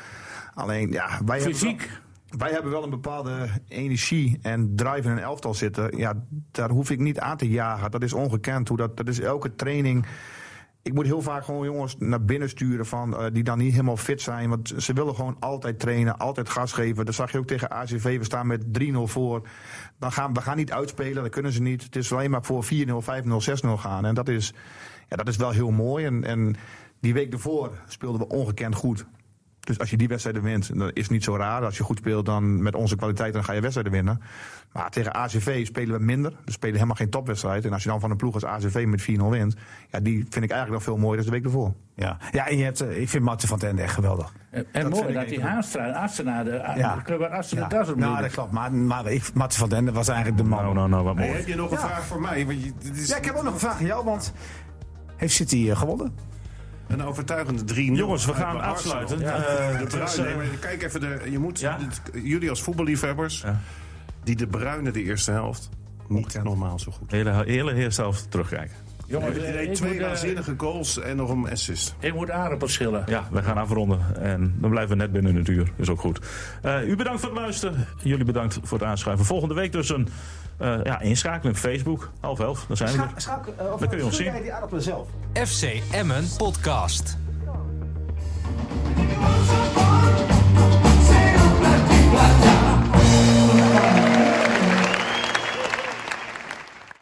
Speaker 3: Alleen, ja, wij
Speaker 5: Fysiek.
Speaker 3: Hebben wel, wij hebben wel een bepaalde energie en drive in een elftal zitten. Ja, daar hoef ik niet aan te jagen. Dat is ongekend. Hoe dat, dat is elke training. Ik moet heel vaak gewoon jongens naar binnen sturen van, eh, die dan niet helemaal fit zijn. Want ze willen gewoon altijd trainen, altijd gas geven. Dat zag je ook tegen ACV. We staan met 3-0 voor. Dan gaan, we gaan niet uitspelen, dat kunnen ze niet. Het is alleen maar voor 4-0, 5-0, 6-0 gaan. En dat is, ja, dat is wel heel mooi. En, en die week ervoor speelden we ongekend goed. Dus als je die wedstrijden wint, dan is het niet zo raar. Als je goed speelt, dan met onze kwaliteit, dan ga je wedstrijden winnen. Maar tegen ACV spelen we minder. Dus We spelen helemaal geen topwedstrijd. En als je dan van een ploeg als ACV met 4-0 wint, ja, die vind ik eigenlijk nog veel mooier dan de week ervoor.
Speaker 4: Ja, ja en je hebt, eh, ik vind Marten van den Ende echt geweldig.
Speaker 5: Eh, En mooi dat die Haastra, Assenaar, de,
Speaker 4: Ja.
Speaker 5: de club waar Assenaar
Speaker 4: Ja.
Speaker 5: das op
Speaker 4: nou,
Speaker 5: doet.
Speaker 4: dat klopt. Maar, maar ik, Marten van den Ende was eigenlijk de man.
Speaker 2: Nou, nou, nou, wat
Speaker 6: Hey,
Speaker 2: mooi.
Speaker 6: heb je nog een vraag voor mij? Want je- dit is
Speaker 4: Ja, ik heb ook nog een vraag aan jou, want heeft City eh, gewonnen?
Speaker 6: een overtuigende 3
Speaker 2: Jongens, we gaan afsluiten. Eh,
Speaker 6: de
Speaker 2: het is,
Speaker 6: Bruyne,
Speaker 2: eh,
Speaker 6: nee, maar kijk even, de, je moet,
Speaker 2: Ja?
Speaker 6: het- jullie als voetballiefhebbers,
Speaker 2: Ja.
Speaker 6: die de Bruyne de eerste helft niet normaal zo goed.
Speaker 2: Hele, hele eerste helft terugkijken.
Speaker 5: Jongens,
Speaker 6: Die
Speaker 5: eh,
Speaker 6: deed
Speaker 5: ik, moet,
Speaker 6: twee
Speaker 5: eh,
Speaker 6: waanzinnige goals en nog een assist.
Speaker 5: ik moet aardappels schillen.
Speaker 2: Ja, we gaan afronden. En dan blijven we net binnen het uur. Is ook goed. Eh, u bedankt voor het luisteren. Jullie bedankt voor het aanschuiven. Volgende week dus een eh, ja, inschakeling op Facebook. Half elf, dan zijn we er.
Speaker 4: Schaak,
Speaker 2: kun je ons zien.
Speaker 4: die aardappelen zelf?
Speaker 1: FC Emmen Podcast.